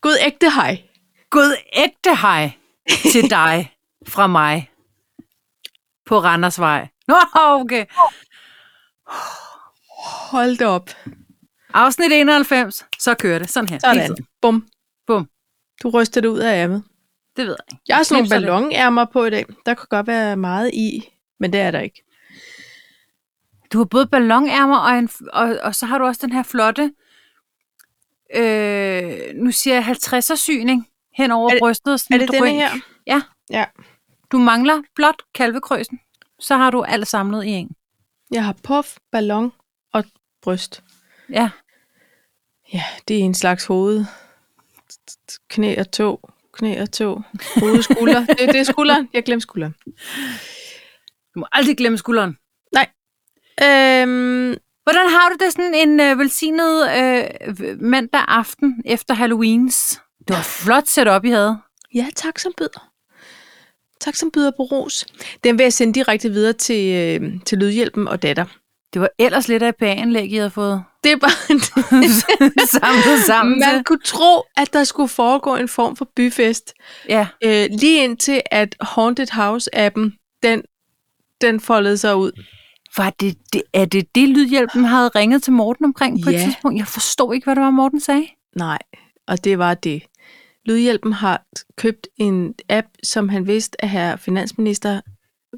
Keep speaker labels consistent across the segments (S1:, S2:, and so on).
S1: God ægte hej.
S2: Gud ægte hej til dig fra mig på Randersvej. Nå, okay.
S1: Hold da op.
S2: Afsnit 91, så kører det. Sådan her. Hele
S1: Sådan.
S2: tiden.
S1: Ligesom. Bum.
S2: Bum.
S1: Du ryster det ud af ærmet.
S2: Det ved jeg ikke.
S1: Jeg har sådan nogle
S2: Knipser lidt.
S1: ballonærmer på i dag. Der kunne godt være meget i, men det er der ikke.
S2: Du har både ballonærmer, og, en, og, og så har du også den her flotte, øh, nu siger jeg 50'er syning hen over
S1: Er det-
S2: brystet. Sådan
S1: Er det
S2: at du går
S1: denne
S2: ind-
S1: her?
S2: Ja.
S1: Ja.
S2: Du mangler blot kalvekrøsen. Så har du alt samlet i en.
S1: Jeg har puff, ballon og bryst.
S2: Ja.
S1: Ja, det er en slags hoved. Knæ og tog. Knæ og tog. Hoved, skulder. Det, det er skulderen. Jeg glemte skulderen.
S2: Du må aldrig glemme skulderen.
S1: Øhm,
S2: Hvordan har du det sådan en øh, velsignet øh, mandag aften efter Halloweens? Det var et flot setup, I havde.
S1: ja, tak som byder. Tak som byder på ros. Den vil jeg sende direkte videre til, øh, til Lydhjælpen og datter.
S2: Det var ellers lidt af et bageanlæg, I havde fået
S1: Det er bare...
S2: samlet sammen
S1: Man
S2: til.
S1: kunne tro, at der skulle foregå en form for byfest,
S2: Ja,
S1: øh, lige indtil at Haunted House-appen, den, den foldede sig ud.
S2: var det, det, er det det, Lydhjælpen havde ringet til Morten omkring på et
S1: Ja.
S2: tidspunkt? Jeg forstod ikke, hvad det var, Morten sagde.
S1: Nej, og det var det. Lydhjælpen har købt en app, som han vidste, at herre finansminister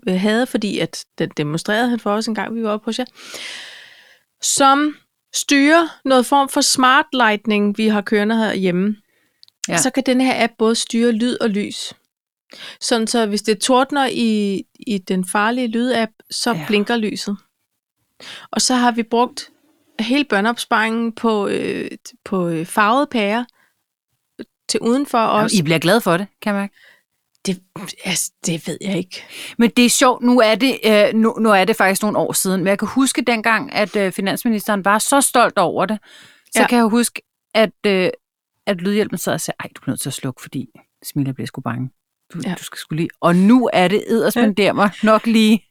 S1: øh, havde, fordi at den demonstrerede han for os en gang, vi var oppe hos jer, som styrer noget form for smart lightning, vi har kørende herhjemme.
S2: Ja.
S1: Ja. Så kan den her app både styre lyd og lys. Sådan så hvis det tordner i, i den farlige lydapp, så
S2: Ja.
S1: ja. blinker lyset. Og så har vi brugt hele børneopsparingen på, øh, på øh, farvede pærer til udenfor
S2: Og
S1: os.
S2: I bliver glad for det, kan jeg mærke.
S1: Det, altså, det ved jeg ikke.
S2: Men det er sjovt, nu er det, øh, nu, nu er det faktisk nogle år siden, men jeg kan huske dengang, at øh, finansministeren var så stolt over det, så ja.
S1: Ja.
S2: kan jeg huske, at, øh, at Lydhjælpen sad og sagde, ej, du bliver nødt til at slukke, fordi Smilla bliver sgu bange. Du, ja.
S1: Ja.
S2: du skal sgu lige... Og nu er det edderspenderer mig nok lige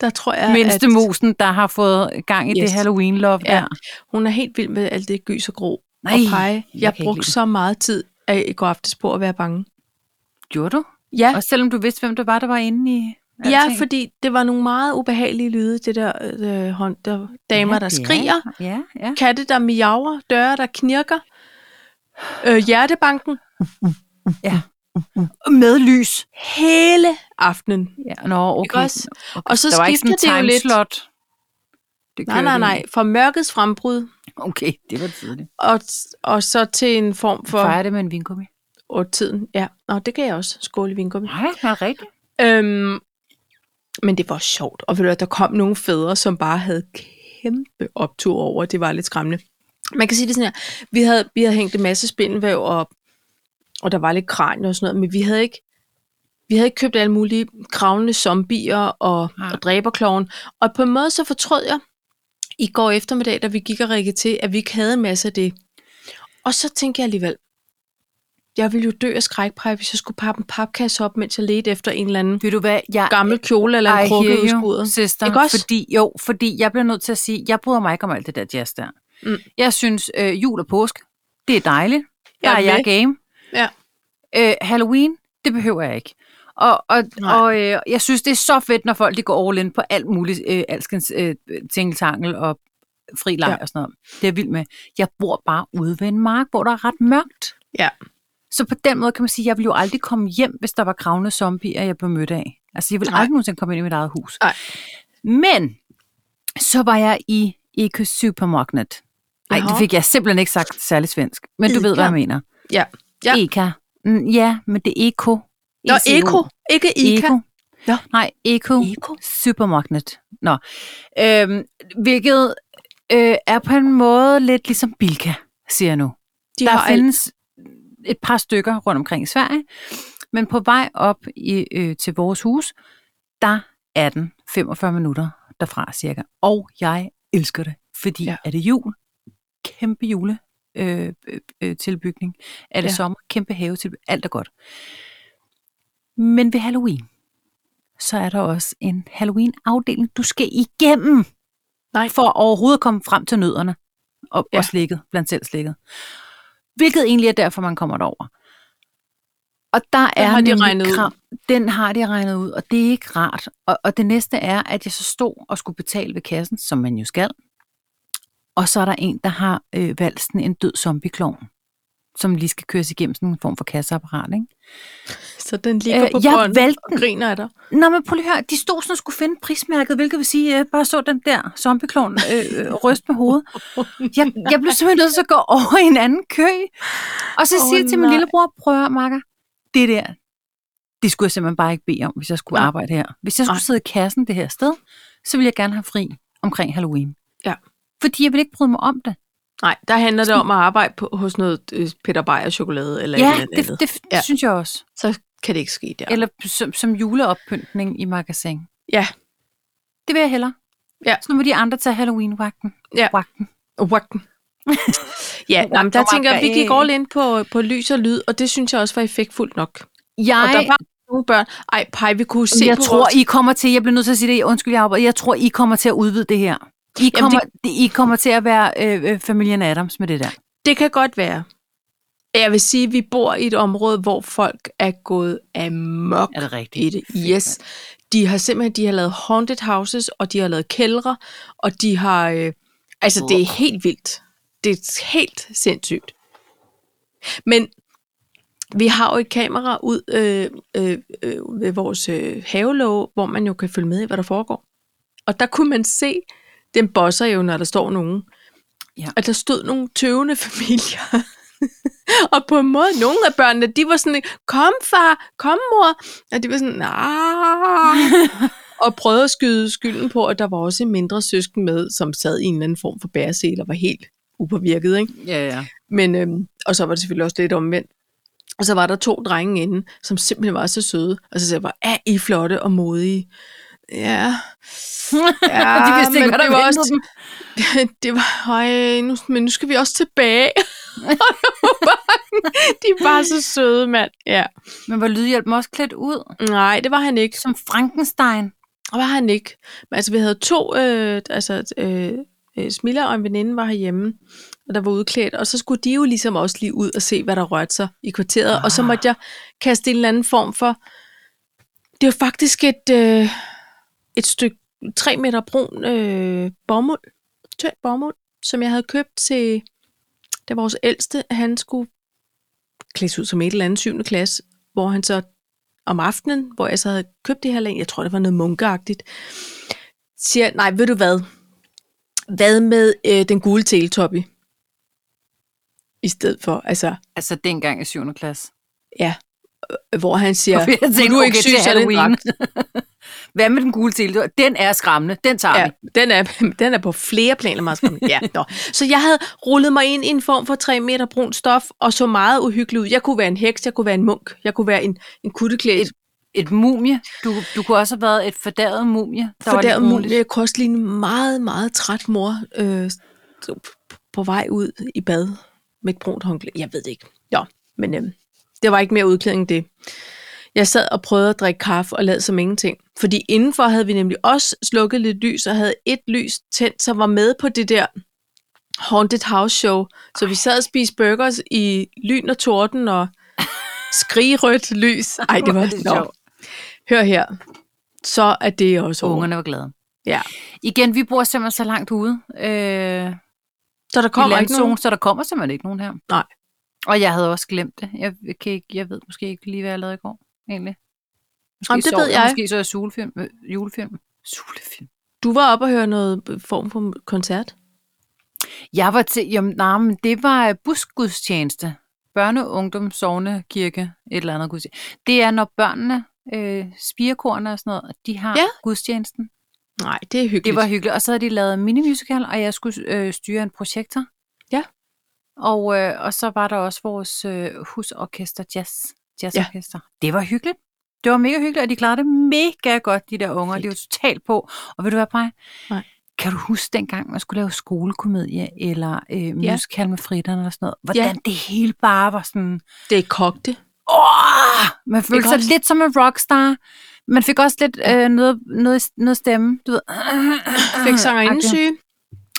S1: Der tror jeg,
S2: ja, mindste
S1: at
S2: musen, der har fået gang i yes.
S1: Yes.
S2: det Halloween-love ja.
S1: Ja.
S2: der.
S1: hun er helt vild med alt det gys og grå
S2: Nej,
S1: og pege.
S2: jeg
S1: Jeg,
S2: kan ikke lide
S1: brugte så meget tid af i går aftes på at være bange.
S2: Gjorde du?
S1: Ja,
S2: Også selvom du vidste, hvem det var, der var inde i...
S1: ja
S2: alting?
S1: fordi det var nogle meget ubehagelige lyde, det der, øh, hånd, der damer,
S2: Ja,
S1: ja, der
S2: det er-
S1: skriger,
S2: Ja, ja.
S1: katte, der miaver, døre, der knirker, øh, hjertebanken
S2: Med lys.
S1: hele aftenen.
S2: Ja, nå,
S1: Ikke
S2: okay.
S1: også? Og så
S2: der var ikke sådan
S1: skifter det jo lidt.
S2: timeslot. Det
S1: Nej,
S2: kørte
S1: nej,
S2: i.
S1: nej. Fra mørkets frembrud
S2: Okay, det var tidligt.
S1: og, og så til en form
S2: For...
S1: for
S2: Fejrer det med en vingummi?
S1: og tiden. Ja, Nå, det kan jeg også. Skål i vingummi.
S2: Nej, det er rigtigt.
S1: Øhm, men det var sjovt. Og ved du, hvad, der kom nogle fædre, som bare havde kæmpe optur over. Det var lidt skræmmende. Man kan sige det sådan her. Vi havde, vi havde hængt en masse spindelvæv op, og der var lidt kranje og sådan noget, men vi havde ikke, vi havde ikke købt alle mulige kravlende zombier og,
S2: Nej.
S1: og dræberkloven. Og på en måde så fortrød jeg i går eftermiddag, da vi gik og rækkede til, at vi ikke havde en masse af det. Og så tænkte jeg alligevel, jeg ville jo dø af skrækpræg, hvis jeg skulle pappe en papkasse op, mens jeg ledte efter en eller anden
S2: Ved du hvad, jeg
S1: gammel kjole eller
S2: I
S1: en krukke
S2: hear
S1: ud i
S2: you,
S1: skuret.
S2: Sister,
S1: Ikke også?
S2: Fordi, jo, fordi jeg bliver nødt til at sige, jeg bryder mig ikke om alt det der jazz der.
S1: Mm.
S2: Jeg synes, øh, jul og påske, det er dejligt. Der
S1: Jeg er
S2: er jeg
S1: med.
S2: game.
S1: Ja.
S2: Øh, Halloween, det behøver jeg ikke. Og, og,
S1: Nej.
S2: og øh, jeg synes, det er så fedt, når folk de går all in på alt muligt, øh, alskens øh, tingeltangel og fri leg ja.
S1: Ja.
S2: og sådan noget. Det er jeg vild med. Jeg bor bare ude ved en mark, hvor der er ret mørkt.
S1: Ja.
S2: Så på den måde kan man sige, at jeg ville jo aldrig komme hjem, hvis der var kravende zombier, jeg blev mødt af. Altså, jeg ville
S1: Nej.
S2: aldrig nogensinde komme ind i mit eget hus.
S1: Nej.
S2: Men så var jeg i Eko Supermarket. Nej, det
S1: Jaha.
S2: fik jeg simpelthen ikke sagt særlig svensk. Men du ved, hvad
S1: Ica.
S2: jeg mener.
S1: Ja. Ja.
S2: Eka. Mm, ja, men det er E Eko.
S1: Nå, Eko. Ikke Ica.
S2: Eko.
S1: Ja.
S2: Nej, Eko.
S1: Eko.
S2: Supermarket. Nå. Øhm, hvilket øh, er på en måde lidt ligesom Bilka, siger jeg nu.
S1: De
S2: Der
S1: har alt.
S2: findes et par stykker rundt omkring i Sverige, men på vej op i, øh, til vores hus, der er den 45 minutter derfra cirka. Og jeg elsker det, fordi ja.
S1: Ja.
S2: er det jul, kæmpe jule øh, øh, øh, tilbygning. Er det ja.
S1: Ja.
S2: sommer, kæmpe have til alt er godt. Men ved Halloween, så er der også en Halloween-afdeling, du skal igennem
S1: Nej.
S2: for at overhovedet komme frem til nødderne og, ja.
S1: Ja.
S2: og slikket, blandt selv slikket. Hvilket egentlig er derfor, man kommer derover. Og der den er
S1: har de
S2: nemlig
S1: regnet ud.
S2: Den har de regnet ud, og det er ikke rart. Og, og det næste er, at jeg så stod og skulle betale ved kassen, som man jo skal. Og så er der en, der har øh, valgt sådan en død zombie-klovn, som lige skal køres igennem sådan en form for kasseapparat, ikke?
S1: Så den ligger
S2: Øh,
S1: på
S2: jeg
S1: bånd
S2: valgte
S1: og griner af dig.
S2: Nå, men prøv lige at høre, de stod sådan og skulle finde prismærket, hvilket vil sige, at jeg bare så den der zombieklon øh, øh, ryste med hovedet. Jeg, jeg blev simpelthen nødt til at gå over i en anden kø. Og så
S1: Åh,
S2: oh, siger jeg til min
S1: nej.
S2: lillebror, prøv at høre, makker, det der, det skulle jeg simpelthen bare ikke bede om, hvis jeg skulle
S1: Nej.
S2: arbejde her. Hvis jeg skulle
S1: Nej.
S2: sidde i kassen det her sted, så ville jeg gerne have fri omkring Halloween.
S1: Ja.
S2: Fordi jeg vil ikke bryde mig om det.
S1: Nej, der handler det om at arbejde på, hos noget øh, Peter Beyer chokolade eller et
S2: Ja,
S1: eller andet.
S2: det, det
S1: Ja.
S2: ja. synes jeg også.
S1: Så kan det ikke ske der.
S2: Ja. Eller som, som juleoppyntning i magasin.
S1: Ja.
S2: Det vil jeg hellere.
S1: Ja.
S2: Så må de andre tage Halloween-vagten.
S1: Ja.
S2: Vagten.
S1: Wagten. ja, nej, men der
S2: Wagten,
S1: tænker jeg, at vi
S2: øh.
S1: gik all in på, på lys og lyd, og det synes jeg også var effektfuldt nok. Og der
S2: Jeg,
S1: var nogle børn. Ej, pej, vi kunne se
S2: jeg
S1: på
S2: tror,
S1: vores...
S2: I kommer til, jeg bliver nødt til at sige det, undskyld, jeg arbejder, jeg tror, I kommer til at udvide det her. I kommer, det... I kommer til at være øh, øh, familien Adams med det der.
S1: Det kan godt være. Jeg vil sige, at vi bor i et område, hvor folk er gået amok
S2: Er det rigtigt?
S1: i det. Yes. De har simpelthen de har lavet haunted houses, og de har lavet kældre, og de har... Øh, altså, det er helt vildt. Det er helt sindssygt. Men vi har jo et kamera ud øh, øh, øh, ved vores øh, havelåge, hvor man jo kan følge med i, hvad der foregår. Og der kunne man se, den bosser jo, når der står nogen.
S2: Ja.
S1: Og der stod nogle tøvende familier. og på en måde, nogle af børnene, de var sådan, kom far, kom mor. Og de var sådan, nej. og prøvede at skyde skylden på, at der var også en mindre søsken med, som sad i en eller anden form for bæresel og var helt upåvirket. Ikke?
S2: Ja, ja.
S1: Men, øhm, og så var det selvfølgelig også lidt omvendt. Og så var der to drenge inde, som simpelthen var så søde. Og så sagde jeg bare, er I flotte og modige? Ja, ja
S2: de vidste ikke,
S1: Ah, men
S2: hvad der
S1: det var
S2: ventede
S1: også,
S2: dem.
S1: det var, øj, nu, men nu skal vi også tilbage. Og det var bare- de var så søde, mand. Ja.
S2: Men var Lydhjælpen også klædt ud
S1: Nej, det var han ikke.
S2: som Frankenstein?
S1: Og var han ikke. Men altså, vi havde to, øh, altså, øh, øh, Smilla og en veninde var herhjemme, og der var udklædt, og så skulle de jo ligesom også lige ud og se, hvad der rørte sig i kvarteret, ah. og så måtte jeg kaste en eller anden form for, det var faktisk et, øh, et stykke 3 meter brun øh, bomuld, tynd bomuld, som jeg havde købt til, da vores ældste, han skulle klædes ud som et eller andet 7. klasse, hvor han så om aftenen, hvor jeg så havde købt det her lag, jeg tror, det var noget munkeagtigt, siger, nej, ved du hvad? Hvad med øh, den gule teletoppi? I stedet for, altså,
S2: Altså dengang i 7. klasse.
S1: øh, hvor han siger,
S2: Jeg tænkte,
S1: "Kunne du ikke
S2: okay,
S1: synes,
S2: til
S1: at det er en
S2: Halloween. Hvad med den gule til? Den er skræmmende. Den tager
S1: Ja,
S2: vi.
S1: den er, den er på flere planer meget skræmmende. Ja, nå. Så jeg havde rullet mig ind i en form for 3 meter brun stof, og så meget uhyggelig ud. Jeg kunne være en heks, jeg kunne være en munk, jeg kunne være en, en kutteklædt,
S2: Et mumie. Du, du kunne også have været et fordærvet mumie. Der
S1: for
S2: var lidt
S1: der
S2: roligt.
S1: muligt. Jeg kunne også ligne en meget, meget træt mor øh, på vej ud i bad med et brunt håndklæde. Jeg ved det ikke. Ja, men øh, det var ikke mere udklædning end det. Jeg sad og prøvede at drikke kaffe og lad som ingenting. Fordi indenfor havde vi nemlig også slukket lidt lys og havde et lys tændt, som var med på det der Haunted House Show. Så vi sad og spiste burgers i lyn og torden og skrigerødt lys. Ej, det
S2: Hvor
S1: var
S2: er det
S1: det
S2: sjovt.
S1: Hør her. Så er det også over.
S2: Ungerne var glade.
S1: Ja.
S2: Igen, vi bor simpelthen så langt ude øh,
S1: Så der
S2: kommer
S1: kommer
S2: i
S1: ikke nogen?
S2: landzonen, så der kommer simpelthen ikke nogen her.
S1: Nej.
S2: Og jeg havde også glemt det. Jeg, kan ikke, jeg ved måske ikke lige, hvad jeg lavede i går, egentlig. Måske
S1: Jamen, det
S2: sov
S1: ved jeg.
S2: Måske så jeg julefilm. Øh, julefilm. Julefilm.
S1: Du var oppe og høre noget form for koncert.
S2: Jeg var til, jamen, nej, men det var øh, busgudstjeneste. Børne, ungdom, sovne, kirke, et eller andet gudstjeneste. Det er, når børnene, øh, spirekorne og sådan noget, de har
S1: Ja.
S2: ja. gudstjenesten.
S1: Nej, det er hyggeligt.
S2: Det var hyggeligt. Og så havde de lavet en minimusical, og jeg skulle øh, styre en projektor.
S1: Ja.
S2: Og, øh, og så var der også vores øh, husorkester, jazz, jazzorkester. Ja. Det var hyggeligt. Det var mega hyggeligt, og de klarede det mega godt, de der unger.
S1: Fedt.
S2: De var totalt på. Og ved du hvad, Paj?
S1: Nej.
S2: Kan du huske dengang, man skulle lave skolekomedie eller øh, musical med fritterne og sådan noget? Hvordan
S1: Ja.
S2: det hele bare var sådan...
S1: det er kogte.
S2: Åh! Man følte sig
S1: også?
S2: lidt som en rockstar. Man fik også lidt øh, noget, noget, noget stemme. Du ved,
S1: Fik
S2: Agtigt.
S1: sangerindensyge,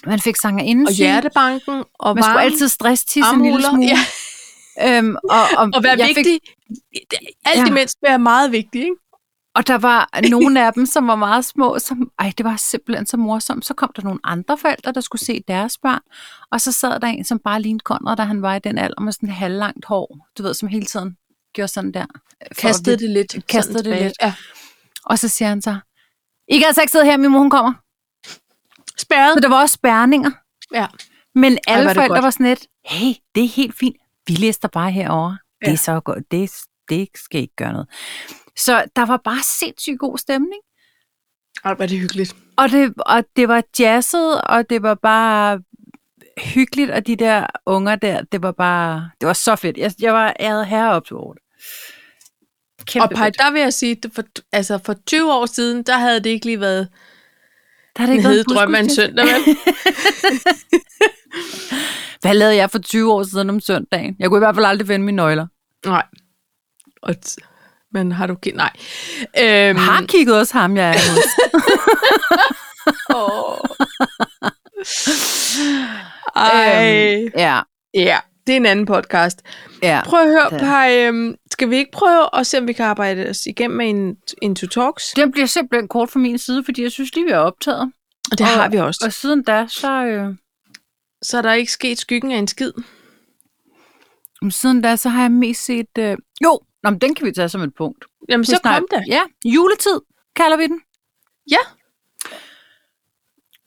S2: Man fik sanger inden
S1: og hjertebanken, og
S2: Man skulle
S1: varme
S2: altid stress tisse en lille
S1: armhuler.
S2: smule.
S1: Ja,
S2: Øhm, og, og,
S1: Og være
S2: jeg fik-
S1: vigtig. Alt
S2: Ja.
S1: ja. imens være meget vigtig, ikke?
S2: Og der var nogle af dem, som var meget små, som, ej, det var simpelthen så morsomt. Så kom der nogle andre forældre, der skulle se deres børn, og så sad der en, som bare lignede Conrad, da han var i den alder, med sådan halvlangt hår, du ved, som hele tiden gjorde sådan der. Øh, For
S1: Kastede
S2: at vi-
S1: det lidt. sådan
S2: Kastede det
S1: tilbage.
S2: lidt.
S1: Ja.
S2: Og så siger han så, I kan altså ikke sidde her, min mor hun kommer.
S1: Spærret.
S2: Så der var også spærninger.
S1: Ja.
S2: Men alle
S1: var
S2: Ej,
S1: det
S2: forældre
S1: godt.
S2: var sådan lidt, hey, det er helt fint. Vi læser dig bare herover. Ja. Det
S1: Ja.
S2: er så godt. Det, det skal ikke gøre noget. Så der var bare sindssygt god stemning.
S1: Ej, var det hyggeligt.
S2: Og det, og det var jazzet, og det var bare hyggeligt, og de der unger der, det var bare, det var så fedt. Jeg, jeg var æret herop til over det. Kæmpe
S1: Og Paj,
S2: fedt.
S1: der vil jeg sige, at for, altså for 20 år siden, der havde det ikke lige været
S2: Der er det
S1: en
S2: ikke
S1: hede
S2: noget
S1: drøm af en søndag. vel?
S2: Hvad lavede jeg for 20 år siden om søndagen? Jeg kunne i hvert fald aldrig vende mine nøgler.
S1: Nej. Og t- men har du kendt? Nej. Øhm,
S2: Mm. Har kigget også ham, jeg er hos.
S1: åh. Ej.
S2: Øhm, ja,
S1: Ja, det er en anden podcast.
S2: ja.
S1: Prøv at høre,
S2: det er-
S1: Paj, øhm, skal vi ikke prøve at se, om vi kan arbejde os igennem med en, en to talks?
S2: Den bliver simpelthen kort fra min side, fordi jeg synes lige, vi er optaget.
S1: Og det
S2: og-
S1: har vi også.
S2: Og siden da, så... Øh,
S1: Så er der ikke sket skyggen af en skid.
S2: jamen, siden da, så har jeg mest set... Øh, jo, nå, men den kan vi tage som et punkt.
S1: Jamen, så
S2: Vi snakker-
S1: kom det.
S2: Ja, juletid kalder vi den.
S1: Ja.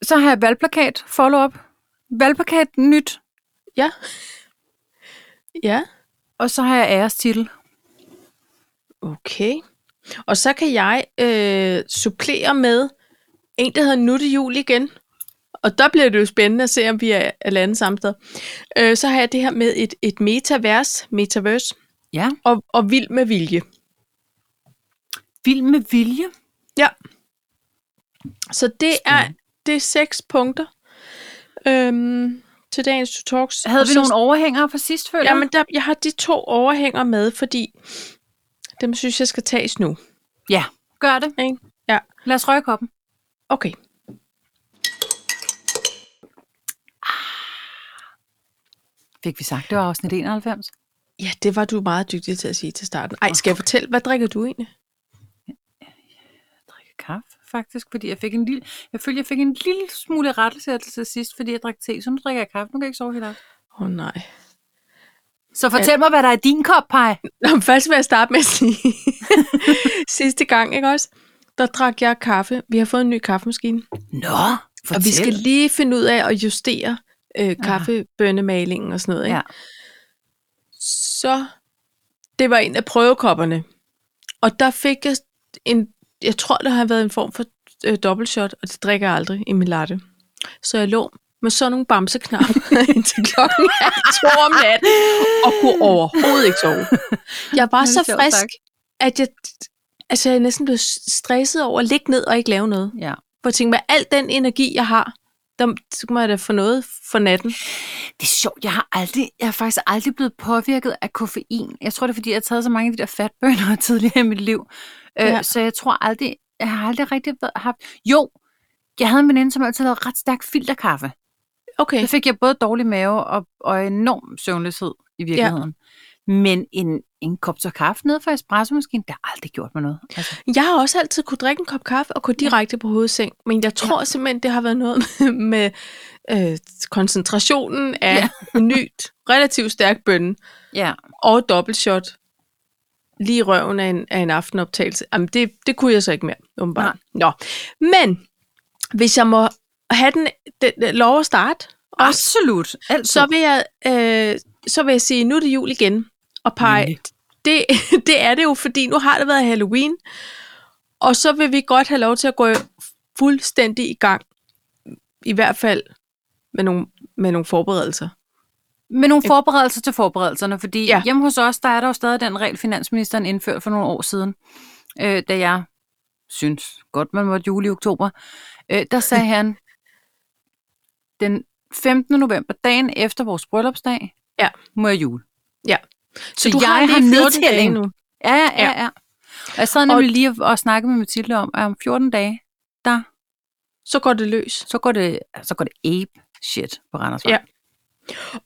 S2: Så har jeg valgplakat, follow-up. Valgplakat nyt,
S1: Ja. Ja.
S2: og så har jeg ærestitel.
S1: Okay. Og så kan jeg øh, supplere med en, der hedder Nu er det jul igen. Og der bliver det jo spændende at se, om vi er, er landet samme sted. Øh, så har jeg det her med et, et metavers, metaverse,
S2: Ja.
S1: og, og vild med vilje.
S2: Vild med vilje.
S1: Så det er,
S2: Spændende.
S1: det er seks punkter øhm, til dagens to talks.
S2: Havde
S1: Og
S2: vi
S1: så-
S2: nogle overhængere fra sidst, føler jeg?
S1: Jamen, der, jeg har de to overhænger med, fordi dem synes jeg skal tages nu.
S2: Gør det.
S1: Ikke? Ja.
S2: Lad os røge koppen.
S1: Okay.
S2: Fik vi sagt, det var afsnit 91?
S1: Ja, det var du meget dygtig til at sige til starten. Ej, skal jeg fortælle, hvad drikker du egentlig?
S2: Jeg drikker kaffe, faktisk, fordi jeg fik en lille... Jeg følte, jeg fik en lille smule rettelse til sidst, fordi jeg drak te, så nu drikker jeg kaffe. Nu kan jeg ikke sove helt Øh. aften.
S1: Åh oh, nej.
S2: Så fortæl mig, hvad der er i din kop, Paj.
S1: Nå, men først vil jeg starte med at sige, sidste gang, ikke også? Der drak jeg kaffe. Vi har fået en ny kaffemaskine.
S2: Nå, fortæl.
S1: Og vi skal lige finde ud af at justere øh, kaffebønnemalingen og sådan noget. Ikke?
S2: Ja.
S1: Så det var en af prøvekopperne. Og der fik jeg en, jeg tror, der har været en form for øh, dobbeltshot, og det drikker jeg aldrig i min latte. Så jeg lå med sådan nogle bamseknapper indtil klokken er to om natten, og kunne overhovedet ikke sove. Jeg var
S2: Det er
S1: så
S2: sjovt
S1: frisk,
S2: sagt.
S1: at jeg, altså jeg næsten blev stresset over at ligge ned og ikke lave noget.
S2: Ja.
S1: Hvor jeg tænkte, med al den energi, jeg har, der så må jeg da få noget for natten.
S2: Det er sjovt, jeg har, aldrig, jeg er faktisk aldrig blevet påvirket af koffein. Jeg tror, det er, fordi jeg har taget så mange af de der fatbønder tidligere i mit liv. Ja.
S1: Ja.
S2: Øh, så jeg tror aldrig, jeg har aldrig rigtig været, haft... Jo, jeg havde en veninde, som altid lavede ret stærk filterkaffe.
S1: Okay,
S2: Så fik jeg både dårlig mave og, og enorm søvnløshed i virkeligheden. Ja. Men en, en kop så kaffe nede fra espressomaskinen, det har aldrig gjort mig noget. Altså,
S1: jeg har også altid kunne drikke en kop kaffe og gå direkte på hovedseng, men jeg tror simpelthen, det har været noget med, med øh, koncentrationen af
S2: Ja.
S1: ja. en ny, relativt stærk bønne
S2: ja.
S1: og dobbeltshot lige i røven af en, af en aftenoptagelse. Jamen, det, det kunne jeg så ikke mere, åbenbart. Nå, men hvis jeg må have den, den, den lov at starte, også,
S2: Absolut. Altid.
S1: så vil jeg, øh, så vil jeg sige, nu er det jul igen. Og pege,
S2: Nemlig.
S1: det, det er det jo, fordi nu har det været Halloween, og så vil vi godt have lov til at gå fuldstændig i gang. I hvert fald med nogle, med nogle forberedelser.
S2: Med nogle forberedelser til forberedelserne, fordi ja.
S1: Ja.
S2: hjemme hos os, der er der jo stadig den regel, finansministeren indførte for nogle år siden, øh, da jeg synes godt, man måtte jule i oktober. Øh, der sagde han, den 15. november, dagen efter vores bryllupsdag,
S1: Ja.
S2: må jeg jule.
S1: Ja.
S2: Så, Så jeg har,
S1: lige 14 dage
S2: nedtælling.
S1: nu.
S2: Ja, ja, ja. ja. Og jeg sad
S1: Og-
S2: nemlig lige og, og snakkede med Mathilde om, at om 14 dage, der,
S1: Så går det løs.
S2: så går det, så går det ape shit på Randersvej.
S1: Ja.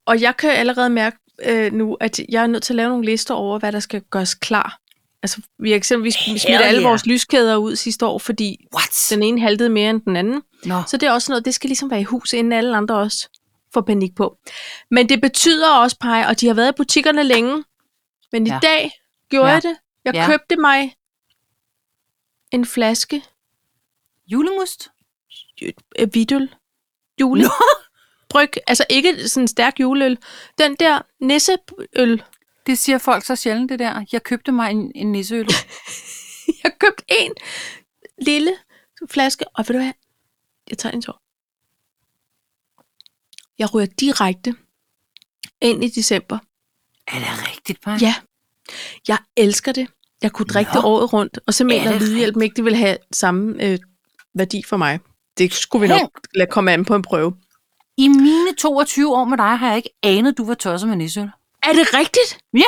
S1: Og jeg kan allerede mærke, øh, nu, at jeg er nødt til at lave nogle lister over, hvad der skal gøres klar. Altså, vi har eksempelvis vi smidt
S2: Hell
S1: alle
S2: yeah.
S1: vores lyskæder ud sidste år, fordi
S2: What?
S1: den ene haltede mere end den anden.
S2: Nå.
S1: Så det er også noget, det skal ligesom være i hus, inden alle andre også får panik på. Men det betyder også, Paj, og de har været i butikkerne længe, men i
S2: Ja.
S1: ja. dag gjorde
S2: Ja.
S1: ja. jeg det. Jeg
S2: Ja.
S1: ja. købte mig en flaske
S2: Julemust?
S1: øh, vidøl. Jule.
S2: Nå.
S1: Bryg, altså ikke sådan en stærk juleøl. Den der nisseøl.
S2: Det siger folk så sjældent, det der. Jeg købte mig en, en nisseøl.
S1: Jeg købte en lille flaske, og ved du hvad? Jeg tager en tår. Jeg ryger direkte ind i december.
S2: er det rigtigt, bare?
S1: Ja. Jeg elsker det. Jeg kunne drikke
S2: Nå.
S1: det året rundt, og så mener
S2: det
S1: at lydhjælpen ikke, det ville have samme øh, værdi for mig. Det skulle vi nok lade komme an på en prøve.
S2: I mine 22 år med dig har jeg ikke anet, du var tosset med nisseøl.
S1: Er det rigtigt?
S2: Ja,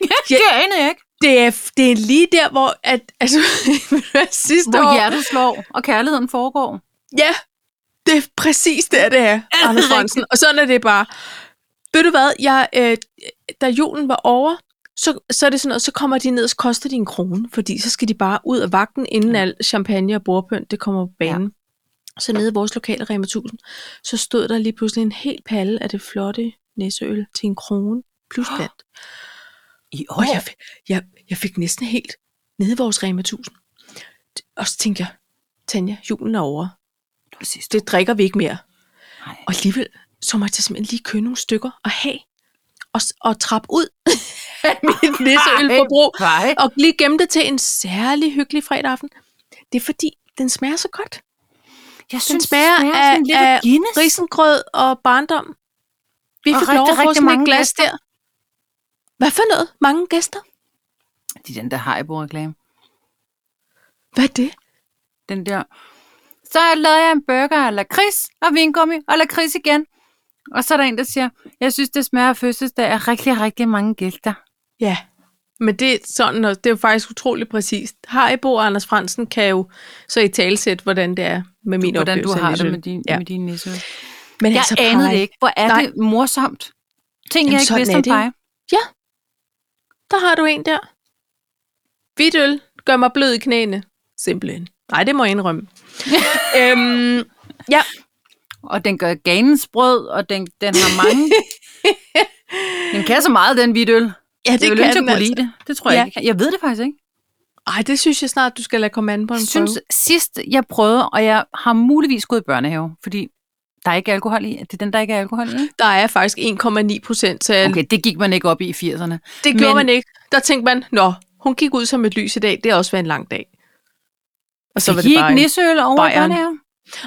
S1: Ja.
S2: det anede jeg ikke.
S1: Det er, det er lige der, hvor at, altså, ved du hvad, sidste
S2: Hvor
S1: år...
S2: hjertet slår, og kærligheden foregår.
S1: Ja, det er præcis der, det er, Anders Fransen. Og sådan er det bare. Ved du hvad, jeg, øh, da julen var over, så, så er det sådan noget, så kommer de ned, og så koster de en krone, fordi så skal de bare ud af vagten, inden
S2: Ja.
S1: al champagne og bordpynt, det kommer på banen. Så nede i vores lokale Rema 1000, så stod der lige pludselig en hel palle af det flotte næseøl til en krone plus pant.
S2: I
S1: Og jeg, fik- jeg, jeg fik næsten helt nede i vores Rema 1000. Og så tænkte jeg, Tanja, julen er over.
S2: Præcis.
S1: Det drikker vi ikke mere.
S2: Nej.
S1: Og alligevel, så måtte jeg simpelthen lige købe nogle stykker og have. Og, s- og trappe ud af mit nisseølforbrug.
S2: Nej.
S1: Og lige gemme det til en særlig hyggelig fredag aften. Det er fordi, den smager så godt.
S2: Jeg
S1: Den
S2: synes,
S1: smager, af,
S2: sådan lidt af,
S1: af
S2: Guinness.
S1: risengrød og barndom. Vi
S2: Og
S1: fik
S2: rigtig,
S1: lov at få
S2: rigtig
S1: sådan
S2: mange
S1: et glas der. Hvad for noget? Mange gæster?
S2: Det er den der Haribo-reklame.
S1: Hvad er det?
S2: Den der, så lavede jeg en burger af lakrids og vingummi og lakrids igen. Og så er der en, der siger, jeg synes, det smager af fødselsdag af rigtig, rigtig mange gæster.
S1: Ja, men det er sådan, og det er jo faktisk utrolig præcist. Haribo og Anders Fransen kan jo så i talsæt, hvordan det er med min
S2: Hvordan du
S1: oplevelse af
S2: har det
S1: nisseøl.
S2: med din, ja.
S1: Ja.
S2: med din nisse.
S1: Men
S2: Jeg
S1: altså,
S2: anede
S1: Paj,
S2: det ikke. Hvor er
S1: Nej.
S2: det morsomt. Ting,
S1: Jamen,
S2: jeg ikke
S1: sådan
S2: vidste
S1: er
S2: om
S1: det jo.
S2: dig.
S1: Der har du en der. Hvidt øl gør mig blød i knæene. Simpelthen. Nej, det må jeg indrømme. øhm,
S2: Og den gør ganen sprød, og den, den har mange... den kan så meget, den hvidt øl.
S1: ja, det,
S2: Det er jo
S1: kan
S2: lyst til
S1: den
S2: at kunne
S1: altså.
S2: lide det. Det tror jeg
S1: Ja.
S2: ikke. jeg kan. Jeg ved det faktisk ikke.
S1: Ej, det synes jeg snart, du skal lade komme an på en
S2: Jeg synes,
S1: prøve.
S2: sidst jeg prøvede, og jeg har muligvis gået i børnehave, fordi der er ikke alkohol i. Det er den, der ikke er alkohol i. ikke?
S1: Der er faktisk 1,9 procent, så okay,
S2: Okay, det gik man ikke op i i 80'erne.
S1: det gjorde
S2: men-
S1: man ikke. Der tænkte man, nå, hun gik ud som et lys i dag, det har også været en lang dag. Og så var det
S2: gik
S1: bare en-
S2: nisseøl over i
S1: Bayern.
S2: børnehaven.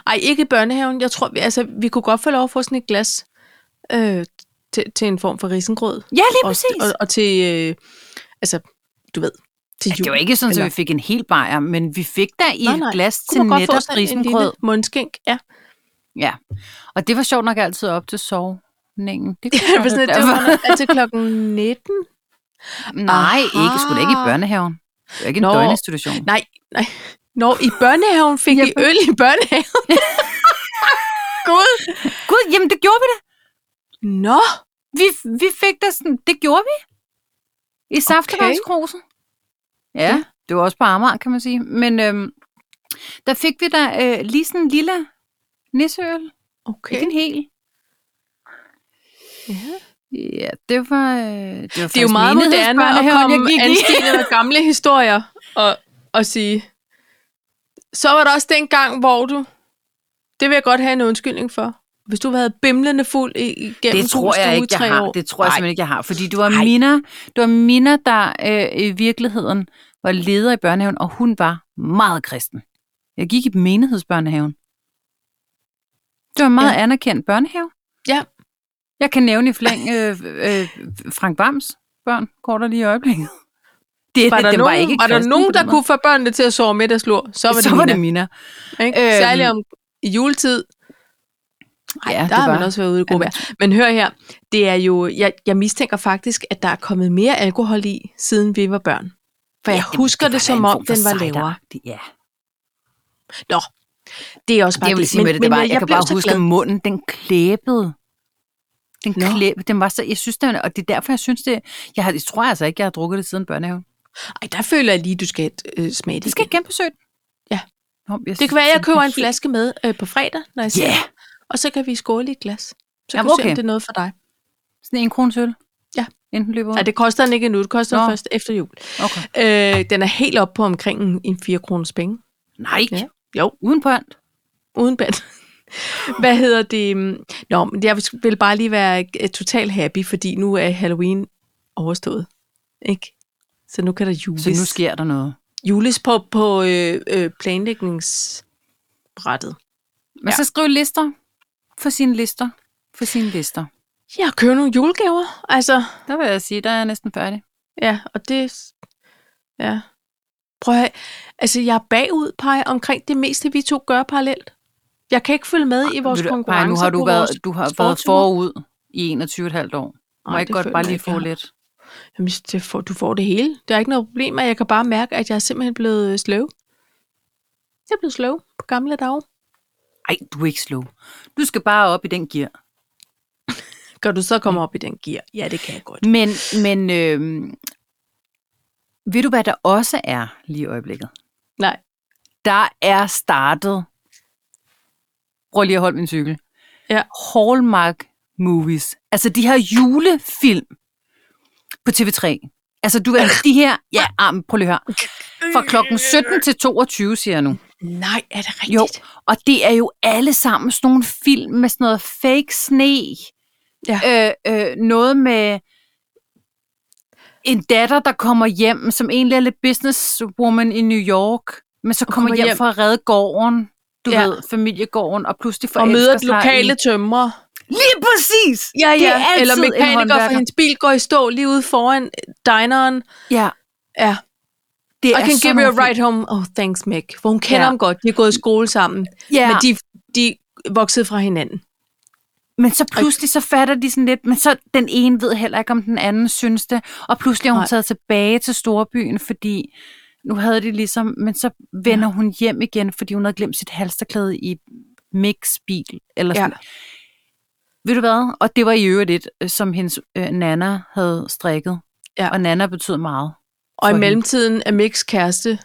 S1: Ej, ikke i børnehaven. Jeg tror, vi, altså, vi kunne godt få lov at få sådan et glas øh, til, til en form for risengrød.
S2: Ja, lige
S1: Og,
S2: præcis.
S1: og, og til, øh, altså, du ved, til
S2: Ja,
S1: jul.
S2: det var ikke sådan, at
S1: eller-
S2: vi fik en hel bajer, men vi fik der i
S1: Nej,
S2: et
S1: nej.
S2: glas til
S1: kunne man godt få
S2: netop
S1: sådan en lille
S2: risengrød.
S1: mundskænk. Ja,
S2: Ja, og det var sjovt nok altid op til sovningen. Det kunne
S1: det var
S2: godt
S1: sådan,
S2: være
S1: at det
S2: derfor.
S1: var altid klokken 19.
S2: Nej, ikke. Skulle da ikke i
S1: Aha.
S2: børnehaven. Det var ikke en
S1: Ah. Nå.
S2: døgninstitution.
S1: Nej, nej. Nå, i børnehaven fik
S2: Ja,
S1: I øl i børnehaven. Gud.
S2: Gud, jamen det gjorde vi da.
S1: Nå,
S2: Vi, vi fik da sådan, det gjorde vi. I saftevandskrosen. Ja, ja, det var også på Amager, kan man sige. Men øhm, der fik vi da øh, lige sådan en lille nisseøl.
S1: okay.
S2: Ikke en hel.
S1: Ja.
S2: Ja, det var... Øh, det, var
S1: Det er jo meget moderne at komme anstillet af gamle historier og, og sige, så var der også den gang, hvor du, det vil jeg godt have en undskyldning for, hvis du havde været bimlende fuld i, igennem
S2: Det tror jeg
S1: Krogstue i
S2: ikke,
S1: tre
S2: jeg har.
S1: år.
S2: Det tror jeg
S1: Nej.
S2: simpelthen ikke, jeg har. Fordi det var
S1: Nej.
S2: Mina, det var Mina der øh, i virkeligheden var leder i børnehaven, og hun var meget kristen. Jeg gik i menighedsbørnehaven. Det var en meget ja. anerkendt børnehave.
S1: Ja.
S2: Jeg kan nævne i flæng øh, øh, Frank Bams børn, går der lige i øjeblikket. Det,
S1: Var
S2: det-
S1: der,
S2: den
S1: nogen, var der
S2: kristen på
S1: nogen,
S2: den
S1: der
S2: måde.
S1: kunne få børnene til at sove middagslur, så var det,
S2: så var det
S1: Mina,
S2: Mina.
S1: ikke?
S2: Øhm.
S1: Særligt om i juletid. Ej,
S2: Ja,
S1: ja, der
S2: det
S1: har man
S2: var-
S1: også været ude i
S2: Ja,
S1: god vejr. Men hør her, det er jo, jeg, jeg mistænker faktisk, at der er kommet mere alkohol i, siden vi var børn. For jeg
S2: Ja,
S1: husker det,
S2: var da
S1: som
S2: en
S1: om,
S2: form for
S1: den var
S2: cider.
S1: lavere.
S2: Ja,
S1: Nå, det er også bare
S2: det jeg vil sige med det, det var, jeg, jeg kan
S1: blev
S2: bare
S1: så
S2: huske,
S1: glad.
S2: at munden den klæbede. Den
S1: Nå.
S2: klæb, den var så, jeg synes, den, og det er derfor, jeg synes det, jeg, har, jeg tror altså ikke, jeg har drukket det siden børnehaven.
S1: Ej, der føler jeg lige, du skal øh, smage det.
S2: Det skal
S1: igen.
S2: jeg genbesøge den.
S1: Ja.
S2: Nå, jeg
S1: det kan være, jeg
S2: synes, den
S1: køber
S2: er
S1: en
S2: helt-
S1: flaske med øh, på fredag, når jeg ser
S2: Ja,
S1: yeah. Og så kan vi skåle i et glas. Så kan
S2: Jamen,
S1: du se, om
S2: okay.
S1: det er noget for dig.
S2: sådan en kronesøl.
S1: Ja.
S2: Inden den løber ud.
S1: Nej, det koster den ikke endnu. Det koster
S2: Nå.
S1: den først efter jul.
S2: Okay.
S1: Øh, den er helt op på omkring en, en 4 kroners penge.
S2: Nej.
S1: Ja.
S2: Jo. Uden pønt.
S1: Uden band. Hvad hedder det? Nå, men jeg vil bare lige være øh, totalt happy, fordi nu er Halloween overstået. Ikke? Så nu kan der jules.
S2: Så nu sker der noget.
S1: jules på, på øh, øh, planlægningsbrættet.
S2: Men ja. så skriv lister. For sine lister. For sine lister.
S1: Ja, købe nogle julegaver. Altså,
S2: Der vil jeg sige, der er jeg næsten færdig.
S1: ja, og det... Ja. Prøv at høre. Altså, jeg er bagud, Paj, omkring det meste, vi to gør parallelt. Jeg kan ikke følge med i vores
S2: Ved du- Paj,
S1: konkurrence.
S2: nu har du været, du har været
S1: sportsture.
S2: forud i 21,5 år. Må
S1: Nej,
S2: jeg ikke
S1: det
S2: godt
S1: føler
S2: bare
S1: jeg
S2: lige
S1: ikke,
S2: få
S1: jeg har.
S2: lidt?
S1: Jamen, det får, du får det hele. Der er ikke noget problem, og jeg kan bare mærke, at jeg er simpelthen blevet øh, sløv. Jeg er blevet sløv på gamle dage.
S2: Ej, du er ikke slow. Du skal bare op i den gear.
S1: Kan du så komme
S2: Mm.
S1: op i den gear? Ja, det kan jeg godt.
S2: Men, men øh, ved du, hvad der også er lige i øjeblikket?
S1: Nej.
S2: Der er startet, prøv lige at holde min cykel,
S1: Ja.
S2: Hallmark Movies. Altså de her julefilm på TV3. Altså du ved, de her, ja, ah, men prøv lige at høre. Fra klokken 17 til 22, siger jeg nu.
S1: Nej, er det rigtigt?
S2: Jo, og det er jo alle sammen sådan nogle film med sådan noget fake sne.
S1: Ja.
S2: Øh, øh, noget med en datter, der kommer hjem, som egentlig er lidt businesswoman i New York, men så kommer,
S1: kommer
S2: hjem,
S1: hjem.
S2: for at redde gården, du
S1: Ja.
S2: ja. ved, familiegården, og pludselig
S1: Og
S2: forelsker
S1: møder den
S2: sig
S1: lokale
S2: I...
S1: tømrer.
S2: Lige præcis!
S1: Ja,
S2: Det er altid
S1: Eller
S2: en
S1: mekaniker, for
S2: håndværker.
S1: hendes bil går i stå lige ude foran øh, dineren.
S2: Ja,
S1: Ja,
S2: det
S1: I
S2: er
S1: can
S2: sådan
S1: give you
S2: nogle
S1: a ride home. Oh, thanks, Meg. For hun kender
S2: Ja.
S1: ham godt. De har gået i skole sammen.
S2: film. Ja.
S1: Men de, de voksede fra hinanden.
S2: Men så pludselig så fatter de sådan lidt, men så den ene ved heller ikke, om den anden synes det. Og pludselig er hun
S1: Nej.
S2: Nej. taget tilbage til storbyen, fordi nu havde de ligesom, men så vender ja. hun hjem igen, fordi hun havde glemt sit halsterklæde i Micks bil. Eller sådan.
S1: Ja.
S2: Ja. Ved du hvad? Og det var i øvrigt et, som hendes øh, nana havde strikket.
S1: Ja.
S2: Og nana betyder meget.
S1: Og i
S2: For hende.
S1: mellemtiden er Miks kæreste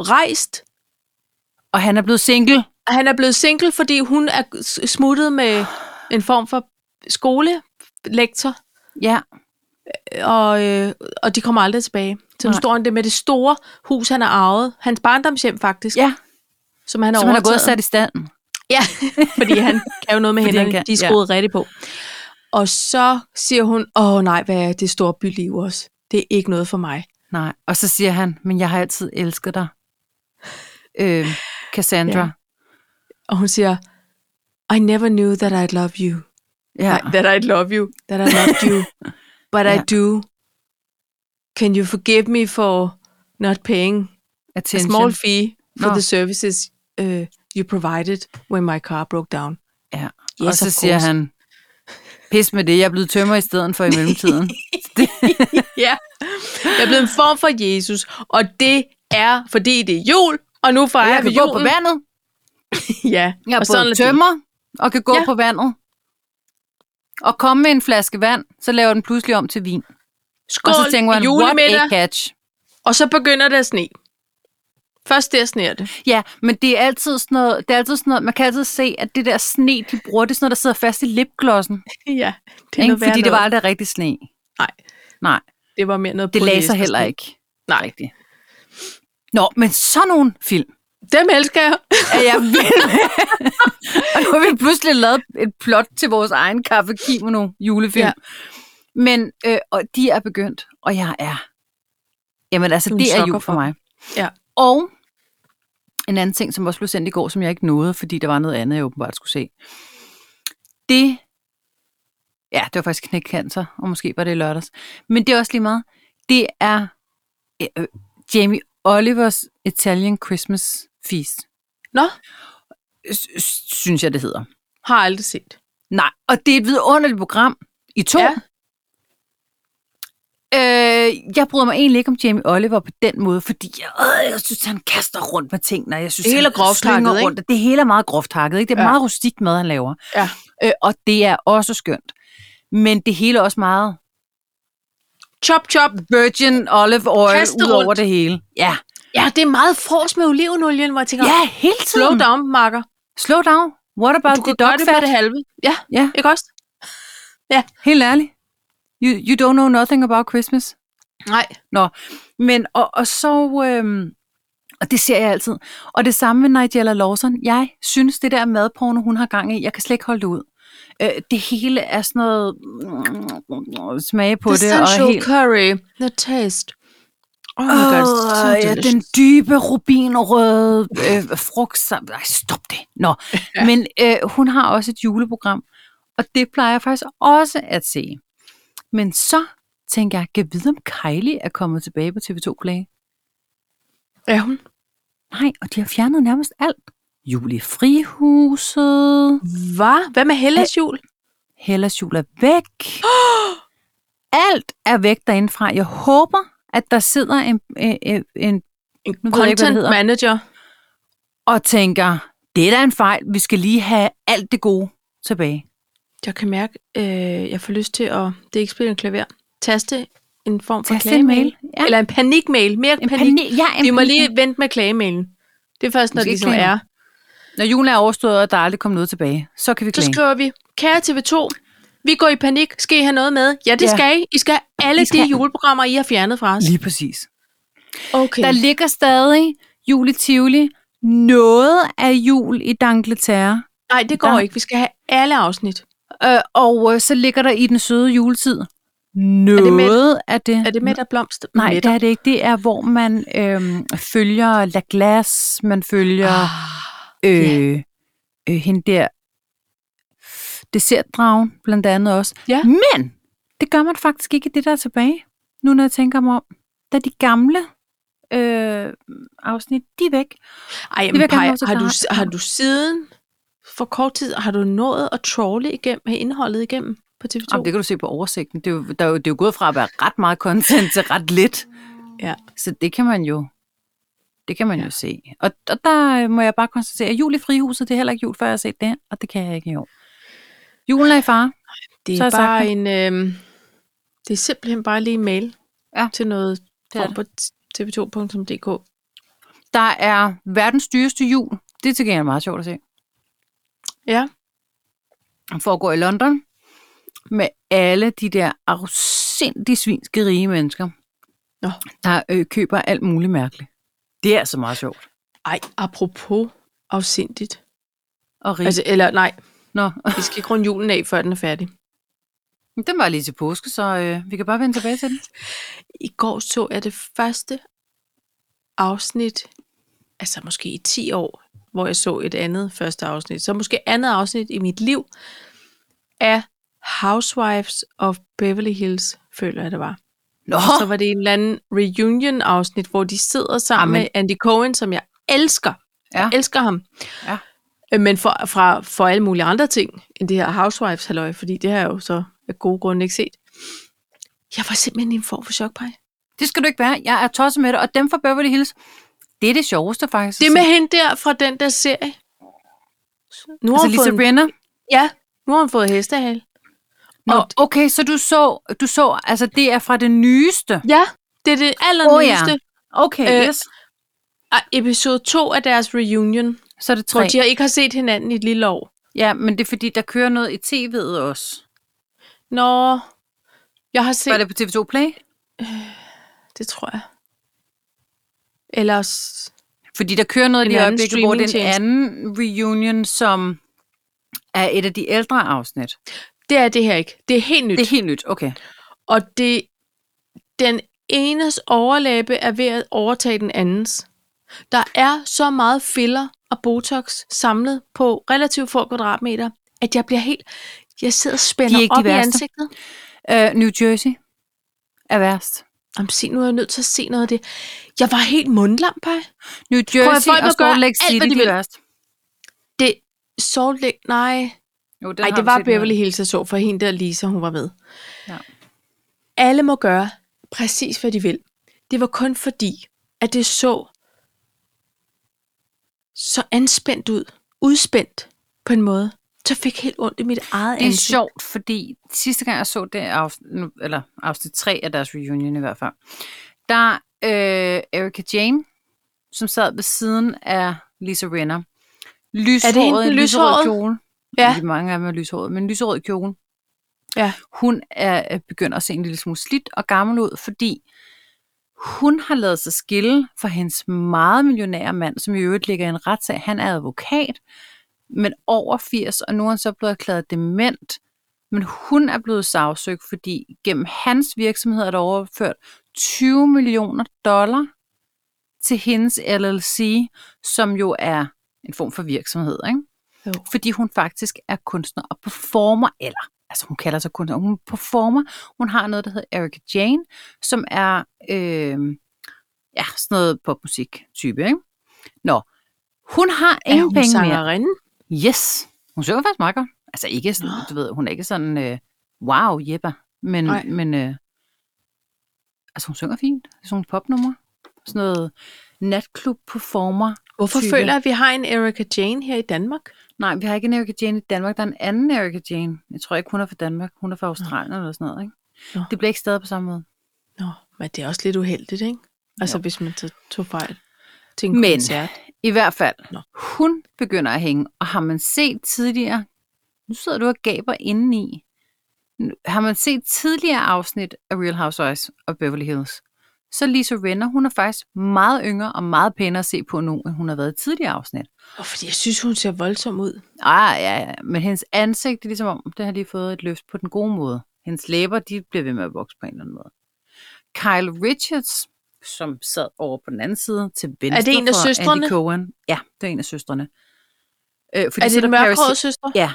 S1: rejst
S2: Og han er blevet single.
S1: han er blevet single, fordi hun er s- smuttet med en form for skolelektor,
S2: Ja.
S1: og, øh, og de kommer aldrig tilbage. Så nu
S2: Nej.
S1: står han det med det store hus, han har arvet. Hans barndomshjem faktisk,
S2: Ja.
S1: som han har
S2: Som han har gået og
S1: overtaget.
S2: sat i stand.
S1: Ja, fordi han kan jo noget med
S2: Fordi han
S1: hænderne.
S2: kan,
S1: De er
S2: ja.
S1: skruet ja. rigtigt på. Og så siger hun, åh nej, hvad er det store byliv også? Det er ikke noget for mig.
S2: Nej, og så siger han, men jeg har altid elsket dig. Øh, Cassandra.
S1: Og hun siger, I never knew that I'd love you.
S2: Ja.
S1: Ja. That I love you. That I loved you. But I
S2: Ja.
S1: do. Can you forgive me for not paying a
S2: attention.
S1: small fee for
S2: Nå.
S1: the services uh, you provided when my car broke down?
S2: Ja.
S1: Yes,
S2: Yes, og
S1: of
S2: så siger
S1: course.
S2: han, pis med det, jeg er blevet tømmer i stedet for i mellemtiden.
S1: Ja. Jeg er blevet en form for Jesus, og det er, fordi det er jul, og nu
S2: Og
S1: fejrer
S2: jeg
S1: vi
S2: kan gå på
S1: julen.
S2: vandet.
S1: ja,
S2: Jeg er
S1: og sådan
S2: både
S1: er det.
S2: tømmer og kan gå
S1: Ja.
S2: ja. på vandet. Og komme med en flaske vand, så laver den pludselig om til vin.
S1: Skål,
S2: og så tænker man, what a
S1: julemiddag,
S2: catch.
S1: og så begynder det at sne. Først der sner det.
S2: Ja, men det er altid sådan noget, det er altid sådan noget, man kan altid se, at det der sne, de bruger, det er sådan noget, der sidder fast i lipglossen.
S1: ja, det er
S2: Ikke?
S1: noget værre
S2: Fordi det var
S1: noget.
S2: aldrig rigtig sne.
S1: Nej.
S2: Nej,
S1: det var mere noget
S2: det lagde
S1: polyester-
S2: sig heller ikke.
S1: Nej.
S2: Rigtigt. Nå, men sådan nogle film.
S1: Dem elsker jeg.
S2: er jeg vild med. og nu har vi pludselig lavet et plot til vores egen kaffe kimono julefilm.
S1: Ja.
S2: Ja. Men øh, og de er begyndt, og jeg er... Jamen altså,
S1: Du er en
S2: det er
S1: sucker
S2: jul
S1: for
S2: for mig.
S1: Ja.
S2: Og en anden ting, som også blev sendt i går, som jeg ikke nåede, fordi der var noget andet, jeg åbenbart skulle se. Det... Ja, det var faktisk knækkancer, og måske var det i lørdags. Men det er også lige meget. Det er øh, øh, Jamie Olivers Italian Christmas Feast
S1: Nå,
S2: s- s- synes jeg, det hedder.
S1: har aldrig set.
S2: Nej, og det er et vidunderligt program i to.
S1: Ja.
S2: Ja. Øh, jeg bryder mig egentlig ikke om Jamie Oliver på den måde, fordi jeg, øh, jeg synes, han kaster rundt med tingene. og Jeg synes,
S1: Det hele
S2: han
S1: er groft
S2: slynger
S1: hakket, ikke?
S2: rundt. og Det hele er meget groft hakket, ikke? Det er
S1: Ja.
S2: ja. meget rustikt mad, han laver.
S1: Ja.
S2: Øh, og det er også skønt. Men det hele er også meget
S1: Chop, chop.
S2: virgin olive oil
S1: Kastet
S2: ud over
S1: rundt.
S2: det hele. Ja,
S1: Ja, det er meget fors med olivenolien, hvor jeg tænker,
S2: ja hele tiden.
S1: slow down, makker.
S2: Slow down. What about
S1: Du
S2: the
S1: kan
S2: dog
S1: gøre det for
S2: fat?
S1: det halve. Ja,
S2: Ja,
S1: ikke også?
S2: helt ærligt. You, you don't know nothing about Christmas.
S1: Nej.
S2: Men, og, og så, øhm, og det ser jeg altid. Og det samme med Nigella Lawson. Jeg synes, det der madporno, hun har gang i, jeg kan slet ikke holde det ud. Øh, det hele er sådan noget mm, smage på
S1: the
S2: det.
S1: Essential
S2: og helt,
S1: curry. The taste. Oh my god, it's so
S2: Åh, ja,
S1: delicious.
S2: den dybe rubinrøde øh, frugt. sam- Ej, stop det. Nå. Ja. Men øh, hun har også et juleprogram, og det plejer jeg faktisk også at se. Men så tænker jeg, kan vide om Kylie er kommet tilbage på TV2 Play?
S1: Er hun?
S2: Nej, og de har fjernet nærmest alt. Julefrihuset,
S1: Hvad? Hvad med Hellas jul?
S2: Hellas jul er væk. Alt er væk derindefra. Jeg håber, at der sidder en, en, en, en
S1: En
S2: ved jeg ikke, hvad det
S1: content
S2: hedder.
S1: manager.
S2: og tænker, det er da en fejl, vi skal lige have alt det gode tilbage.
S1: Jeg kan mærke, øh, jeg får lyst til at, det er ikke spille en klaver, taste en form for
S2: Taste en
S1: klagemail.
S2: mail, ja.
S1: Eller en panikmail. Mere en panik. panik.
S2: panik- ja, en
S1: Vi må
S2: panik-
S1: lige vente med klagemailen. Det er først, når
S2: Måske
S1: det ligesom
S2: klage.
S1: er.
S2: Når julen er overstået, og der aldrig kommer noget tilbage, så kan vi
S1: Så
S2: klage.
S1: skriver vi, kære TV2, vi går i panik. Skal I have noget med? Ja, det
S2: Ja.
S1: ja. skal I. I skal have alle
S2: I skal
S1: de
S2: have-
S1: juleprogrammer, I har fjernet fra os.
S2: Lige præcis.
S1: Okay.
S2: Der ligger stadig jul i Tivoli, noget af jul i Dangleterre,
S1: Nej, det går
S2: der-
S1: ikke. Vi skal have alle afsnit.
S2: øh, og øh, så ligger der i den søde juletid
S1: det med-
S2: noget af det.
S1: Er det med, der blomst?
S2: Nej,
S1: med
S2: det er det ikke. Det er, hvor man øhm, følger La Glace, man følger... øh, øh, hende der dessertdragen blandt andet også.
S1: Ja.
S2: Men det gør man faktisk ikke i det, der er tilbage. Nu når jeg tænker mig om, da de gamle øh, afsnit, de er væk.
S1: Ej,
S2: vil
S1: men
S2: jeg gerne have
S1: Paj,
S2: lov til at
S1: har du,
S2: klare.
S1: har du siden for kort tid, har du nået at trawle igennem, indholdet igennem på TV2?
S2: Jamen, det kan du se på oversigten. Det er, jo, der er jo, det er jo gået fra at være ret meget content til ret lidt.
S1: Ja.
S2: Så det kan man jo det kan man ja. jo se. Og, og der øh, må jeg bare konstatere, at jul i frihuset, det er heller ikke jul, før jeg har set det, og det kan jeg ikke i år. Julen er i fare.
S1: det
S2: så
S1: er
S2: har jeg sagt
S1: bare
S2: det.
S1: en... Øh, det er simpelthen bare lige en mail
S2: Ja,
S1: til noget
S2: det er
S1: form på tv2.dk.
S2: Der er verdens dyreste jul. Det er til gengæld meget sjovt at se.
S1: Ja,
S2: Han foregår i London med alle de der afsindig svinske rige mennesker,
S1: Nå.
S2: der øh, køber alt muligt mærkeligt. Det er altså meget sjovt.
S1: ej, apropos afsindigt.
S2: Og rige. Altså,
S1: Altså, eller nej,
S2: Nå,
S1: vi skal ikke runde julen af, før den er færdig.
S2: den var lige til påske, så øh, vi kan bare vende tilbage til den.
S1: I går så jeg det første afsnit, altså måske i 10 år, hvor jeg så et andet første afsnit, så måske andet afsnit i mit liv af Housewives of Beverly Hills, føler jeg det var.
S2: Nå,
S1: Og så var det en eller anden reunion-afsnit, hvor de sidder sammen
S2: Amen.
S1: Amen. med Andy Cohen, som jeg elsker. Ja.
S2: Ja.
S1: Jeg elsker ham.
S2: Ja.
S1: Øh, Men for, fra, for alle mulige andre ting end det her Housewives halløj, fordi det har jeg jo så af gode grunde ikke set. Jeg var simpelthen i en form for chokpej.
S2: det skal du ikke være. Jeg er tosset med det, og dem fra Beverly Hills, det er det sjoveste faktisk. Altså,
S1: Det med hende der fra den der serie. Nu har,
S2: altså
S1: altså, hun,
S2: Lisa
S1: fået,
S2: Brenner.
S1: ja, nu har hun fået hestehale.
S2: Nå,
S1: Og-
S2: okay, så du så, du så, altså det er fra det nyeste.
S1: Ja, det er det allernyeste. Oh,
S2: Okay,
S1: Øh,
S2: yes.
S1: ja. Episode 2 af deres reunion,
S2: Så er det
S1: hvor
S2: tre.
S1: de ikke har set hinanden i et lille år.
S2: Ja, men det er fordi, der kører noget i tv'et også.
S1: Nå, jeg har set
S2: Var det på TV2 Play?
S1: Det tror jeg. Ellers...
S2: Fordi der kører noget
S1: En
S2: lige i
S1: anden
S2: øjeblikket, hvor den
S1: streamingtjeneste.
S2: anden reunion, som er et af de ældre afsnit.
S1: Det er det her ikke. Det er helt nyt.
S2: Det
S1: Det.
S2: er helt nyt, okay.
S1: Og det... Den enes overlæbe er ved at overtage den andens. Der er så meget filler og botox samlet på relativt få kvadratmeter, at jeg bliver helt... Jeg sidder og spænder
S2: De er ikke de
S1: op i
S2: værste.
S1: ansigtet. Øh,
S2: Uh, New Jersey er værst.
S1: Jamen, se, nu er jeg nødt til at se noget af det. Jeg var helt mundlam, Paj.
S2: New Jersey
S1: folk
S2: og
S1: må
S2: Salt
S1: gøre
S2: Lake
S1: alt,
S2: City,
S1: hvad de
S2: de er
S1: vil.
S2: værst.
S1: Det... Salt Lake... Nej.
S2: Jo, den
S1: Nej,
S2: har
S1: det
S2: vi
S1: var
S2: set noget.
S1: Beverly Hills, jeg så, for hende der Lisa, hun var med.
S2: Ja.
S1: Alle må gøre præcis, hvad de vil. Det var kun fordi, at det så så anspændt ud, udspændt på en måde. så fik helt ondt i mit eget
S2: Det er
S1: ansigt.
S2: sjovt, fordi sidste gang jeg så det, afsnit, nu- eller afsnit 3 af deres reunion i hvert fald, der øh, Erika Jane, som sad ved siden af Lisa Renner, lyshåret,
S1: hende, den lyshårede?
S2: lyserød kjole.
S1: Ja.
S2: De mange af dem er lyshåret, men lyserød kjole.
S1: Ja.
S2: Hun er øh, begyndt at se en lille smule slidt og gammel ud, fordi hun har lavet sig skille for hendes meget millionære mand, som i øvrigt ligger i en retssag. Han er advokat, men over 80, og nu er han så blevet erklæret dement. Men hun er blevet sagsøgt, fordi gennem hans virksomhed er der overført 20 millioner dollar til hendes LLC, som jo er en form for virksomhed, ikke?
S1: Jo.
S2: fordi hun faktisk er kunstner og performer, eller altså hun kalder sig kunstner, hun performer. Hun har noget, der hedder Erika Jane, som er øh, ja, sådan noget popmusik-type. Ikke? Nå, hun har
S1: Er
S2: ingen
S1: hun
S2: penge mere.
S1: sangerinde?
S2: Yes. Hun synger faktisk meget godt. Altså ikke sådan,
S1: Nå.
S2: du ved, hun er ikke sådan, øh, wow, jepper. Men,
S1: Nej.
S2: men øh, altså hun synger fint. Sådan nogle popnumre. Sådan noget natklub performer.
S1: Hvorfor
S2: type.
S1: føler jeg, at vi har en Erika Jane her i Danmark?
S2: Nej, vi har ikke en Erika Jane i Danmark. Der er en anden Erika Jane. Jeg tror ikke, hun er fra Danmark. Hun er fra Australien eller sådan noget, ikke?
S1: Nå.
S2: Det bliver ikke stadig på samme måde.
S1: Nå, men det er også lidt uheldigt, ikke? Altså,
S2: Jo.
S1: hvis man så tog fejl til en
S2: Men-
S1: koncert.
S2: I hvert fald,
S1: Nå.
S2: hun begynder at hænge, og har man set tidligere, nu sidder du og gaber indeni, Nu- har man set tidligere afsnit af Real Housewives og Beverly Hills, så Lisa Renner, hun er faktisk meget yngre og meget pænere at se på nu, end hun har været i tidligere afsnit.
S1: Åh, fordi jeg synes, hun ser voldsom ud.
S2: Ah, ja, ja, men hendes ansigt, det er ligesom om, det har lige fået et løft på den gode måde. Hendes læber, de bliver ved med at vokse på en eller anden måde. Kyle Richards, som sad over på den anden side til venstre
S1: Er det en af
S2: for
S1: søstrene?
S2: Andy Cohen. Ja, det er en af søstrene. Øh, fordi
S1: Er
S2: så
S1: det en
S2: Paris-
S1: mørkhåret søster?
S2: Ja,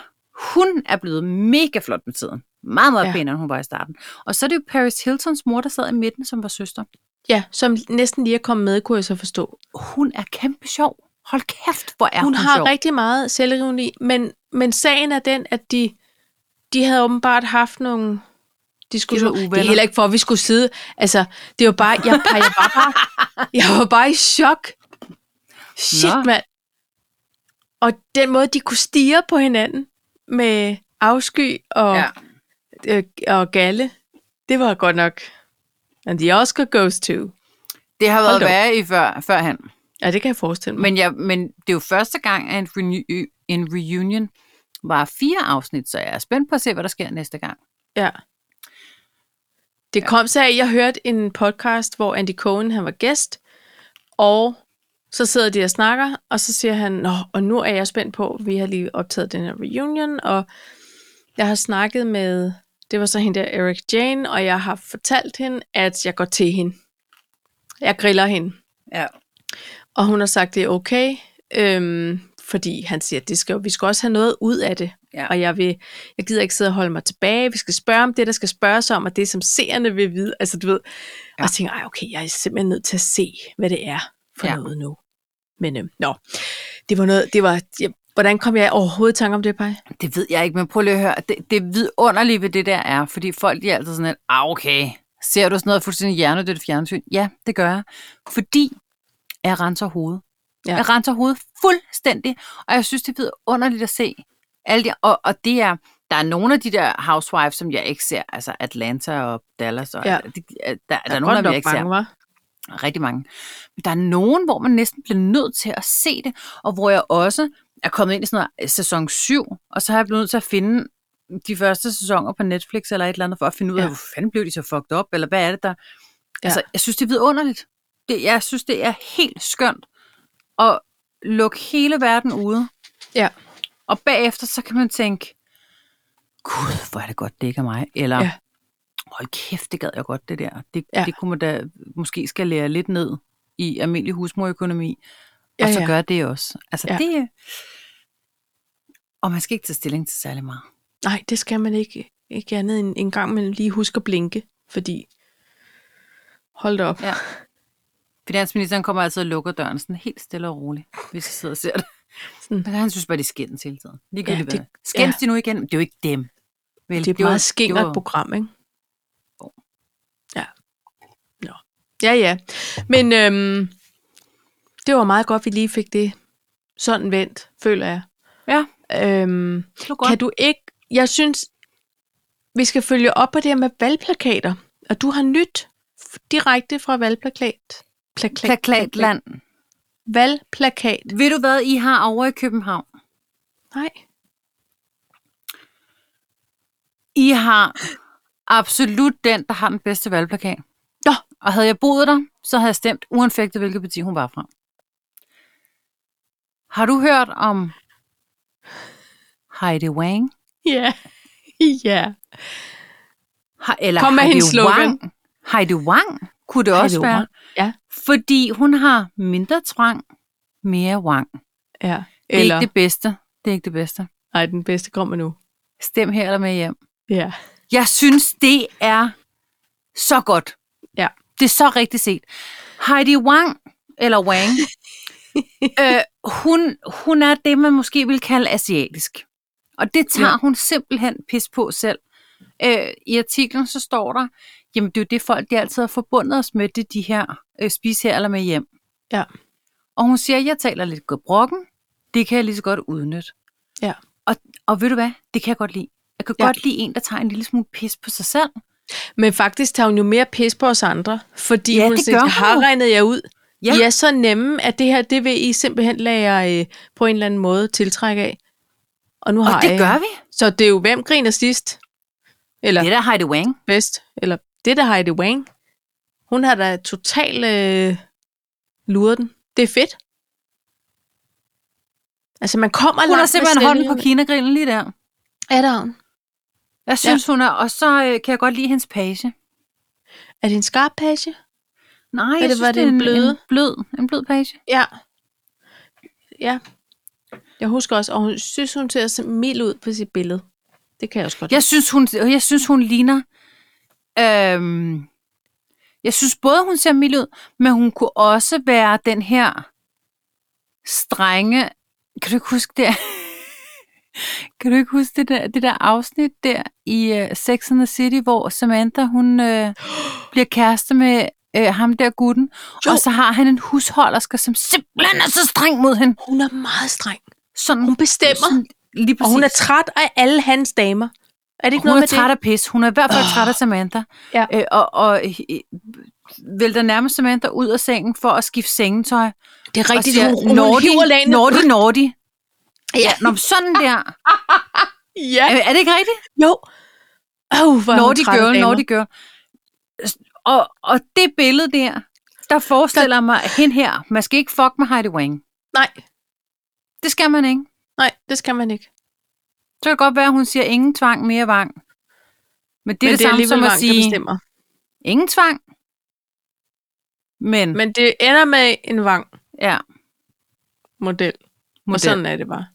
S2: hun er blevet mega flot med tiden. Meget, meget
S1: Ja.
S2: ja. pænere, end hun var i starten. Og så er det jo Paris Hiltons mor, der sad i midten, som var søster.
S1: Ja, som næsten lige er kommet med, kunne jeg så forstå.
S2: Hun er kæmpe sjov. Hold kæft, hvor er
S1: Ja,
S2: hun,
S1: hun har
S2: sjov.
S1: rigtig meget selvironi, men, men sagen er den, at de, de havde åbenbart haft nogle diskussioner.
S2: De var
S1: Det
S2: uvenner.
S1: er heller ikke for, at vi skulle sidde. Altså, det var bare, jeg, jeg, var, bare, jeg var bare i chok. Shit,
S2: Nå.
S1: mand. Og den måde, de kunne stige på hinanden med afsky og, ja.
S2: Ja.
S1: øh, og galle, det var godt nok. And the Oscar goes to.
S2: Det har
S1: Hold
S2: været
S1: da op.
S2: værre i før, førhen.
S1: Ja, det kan jeg forestille mig.
S2: Men, jeg, men det er jo første gang, at en, renew, en reunion var fire afsnit, så jeg er spændt på at se, hvad der sker næste gang.
S1: Ja. Det kom så af, at jeg hørte en podcast, hvor Andy Cohen han var gæst, og så sidder de og snakker, og så siger han, Nå, og nu er jeg spændt på, vi har lige optaget den her reunion, og jeg har snakket med, det var så hende der, Eric Jane, og jeg har fortalt hende, at jeg går til hende. Jeg griller hende.
S2: Ja.
S1: Og hun har sagt, det er okay, øhm, fordi han siger, at det skal, jo- vi skal også have noget ud af det.
S2: Ja.
S1: Og jeg, vil, jeg gider ikke sidde og holde mig tilbage. Vi skal spørge om det, der skal spørges om, og det, som seerne vil vide. Altså, du ved. Ja.
S2: Ja.
S1: Og så tænker jeg, "Ej, okay, jeg er simpelthen nødt til at se, hvad det er for ja.
S2: Ja.
S1: noget nu. Men øhm, nå, det var noget, det var, jeg, hvordan kom jeg overhovedet i tanke om det, Paj?
S2: Det ved jeg ikke, men prøv lige at høre. Det, det vidunderlige ved det der er, fordi folk de er altid sådan, at ah, okay, ser du sådan noget fuldstændig hjernedødt fjernsyn? Ja, det gør jeg. Fordi jeg renser hovedet.
S1: Ja.
S2: Ja. Jeg renser hovedet fuldstændig, og jeg synes, det er vidunderligt at se. Alle de, og, og det er, der er nogle af de der housewives, som jeg ikke ser, altså Atlanta og Dallas, og
S1: Ja.
S2: ja. det, der, der, der er nogle af dem, jeg ikke ser.
S1: var.
S2: Rigtig mange. Men der er nogen, hvor man næsten bliver nødt til at se det, og hvor jeg også er kommet ind i sådan noget øh, sæson 7, og så har jeg blevet nødt til at finde de første sæsoner på Netflix eller et eller andet, for at finde ud af,
S1: Ja.
S2: ja. hvor fanden blev de så fucked op, eller hvad er det der?
S1: Ja.
S2: Altså, jeg synes, det er vidunderligt. Det, jeg synes, det er helt skønt at lukke hele verden ude,
S1: Ja.
S2: og bagefter så kan man tænke, gud, hvor er det godt, det ikke er mig, eller
S1: Ja.
S2: ja. hold kæft, det gad jeg godt, det der. Det,
S1: Ja.
S2: ja. det kunne man da måske skal lære lidt ned i almindelig husmorøkonomi, og
S1: Ja,
S2: så
S1: ja.
S2: gør det også. Altså
S1: Ja.
S2: ja. det... Og man skal ikke tage stilling til særlig meget.
S1: Nej, det skal man ikke, ikke andet end en gang, men lige huske at blinke, fordi hold da op.
S2: Ja. Finansministeren kommer altså og lukker døren sådan helt stille og roligt, hvis jeg sidder og ser det.
S1: Sådan.
S2: Han synes bare, de skændes hele tiden.
S1: Ja,
S2: Ligegyldigt
S1: det-
S2: ja, det, skændes
S1: ja.
S2: de nu igen? Det er jo ikke dem. Vel,
S1: Det er et
S2: var-
S1: meget skingert
S2: var-
S1: program, ikke?
S2: Jo.
S1: Ja. Nå. Ja, ja. Men øhm, det var meget godt, vi lige fik det sådan vendt, føler jeg.
S2: Ja.
S1: Øhm,
S2: Slå
S1: kan du ikke... Jeg synes, vi skal følge op på det her med valgplakater. Og du har nyt f- direkte fra valgplakat. Plaklat.
S2: Plakatland.
S1: Valgplakat.
S2: Ved du hvad, I har over i København?
S1: Nej.
S2: I har absolut den, der har den bedste valgplakat.
S1: Nå.
S2: Og havde jeg boet der, så havde jeg stemt uanfægtet, hvilket parti hun var fra. Har du hørt om Heidi Wang?
S1: Ja. Ja.
S2: Ha- eller
S1: Kom med
S2: Heidi
S1: hendes slogan.
S2: Wang? Heidi Wang kunne det
S1: Heidi
S2: også være.
S1: Wang, ja.
S2: Fordi hun har mindre tvang, mere wang.
S1: Ja.
S2: Det er
S1: Eller,
S2: ikke det bedste. Det er ikke det bedste.
S1: nej, den bedste kommer nu.
S2: Stem her eller med hjem.
S1: Ja.
S2: Jeg synes, det er så godt.
S1: Ja.
S2: Det er så rigtigt set. Heidi Wang, eller Wang, øh, hun, hun er det, man måske vil kalde asiatisk. Og det tager
S1: Ja.
S2: ja. hun simpelthen pis på selv. Øh, I artiklen så står der, jamen det er jo det folk, de altid har forbundet os med, det er de her øh, spis her eller med hjem.
S1: Ja.
S2: Og hun siger, jeg taler lidt gebrokken, det kan jeg lige så godt udnytte.
S1: Ja.
S2: Og, og ved du hvad, det kan jeg godt lide. Jeg kan
S1: Ja.
S2: ja. godt lide en, der tager en lille smule pis på sig selv.
S1: Men faktisk tager hun jo mere pis på os andre, fordi
S2: Ja,
S1: hun
S2: det
S1: siger,
S2: gør hun
S1: har
S2: jo."
S1: regnet jer ud.
S2: Ja.
S1: Ja. I er så nemme, at det her, det vil I simpelthen lade jer øh, på en eller anden måde tiltrække af. Og nu
S2: Og øh,
S1: har
S2: det
S1: jeg
S2: gør vi.
S1: Så det er jo, hvem griner sidst? Eller
S2: Det er da Heidi Wang.
S1: bedst? Eller det der Heidi Wang? Hun har da totalt øh, luret den. Det er fedt. Altså, man kommer
S2: Hun har
S1: langt med
S2: simpelthen hånden på
S1: selvhjælp.
S2: kinagrillen lige der.
S1: Er der hun?
S2: Jeg synes, ja. hun er, og så øh, kan jeg godt lide hendes page.
S1: Er det en skarp page?
S2: Nej,
S1: det-
S2: jeg synes,
S1: var det
S2: er
S1: en bløde?
S2: En blød, en blød page.
S1: Ja. Ja. Jeg husker også, og hun synes, hun ser så mild ud på sit billede. Det kan jeg også godt.
S2: Jeg synes, hun, jeg synes, hun ligner... Øhm, jeg synes både, hun ser mild ud, men hun kunne også være den her strenge... Kan du ikke huske det? kan du ikke huske det der, det der afsnit der i uh, Sex and the City, hvor Samantha, hun uh, bliver kæreste med uh, ham der gutten,
S1: Jo.
S2: og så har han en husholdersker, som simpelthen er så streng mod hende.
S1: Hun er meget streng.
S2: Sådan,
S1: Hun bestemmer,
S2: sådan, lige
S1: og hun er
S2: præcis.
S1: træt af alle hans damer. Er det ikke
S2: Hun
S1: noget
S2: er
S1: med
S2: træt
S1: det?
S2: af pis. Hun er i hvert fald oh. træt af Samantha.
S1: Ja.
S2: Øh, og og øh, øh, vælter nærmest Samantha ud af sengen for at skifte sengetøj.
S1: Det er
S2: og
S1: rigtigt, hun, hun, hun
S2: Nordi,
S1: hiver lagene.
S2: Nordi, Nordi.
S1: Ja.
S2: Ja, Nå, men sådan der.
S1: ja.
S2: Er, er det ikke rigtigt?
S1: Jo. Åh, oh, hvor
S2: Nordi
S1: Nordic
S2: Øh, girl, Nordi girl. Og, og det billede der, der forestiller mig hende her. Man skal ikke fuck med Heidi Wang.
S1: Nej,
S2: Det skal man ikke.
S1: nej, det skal man ikke.
S2: Så kan det godt være, at hun siger ingen tvang, mere vang. Men det
S1: Men
S2: er det, det samme
S1: alligevel
S2: som at
S1: Vang, der
S2: sige,
S1: bestemmer.
S2: ingen tvang. Men, Men
S1: Men det ender med en vang-model.
S2: ja,
S1: Og
S2: model.
S1: sådan er det bare.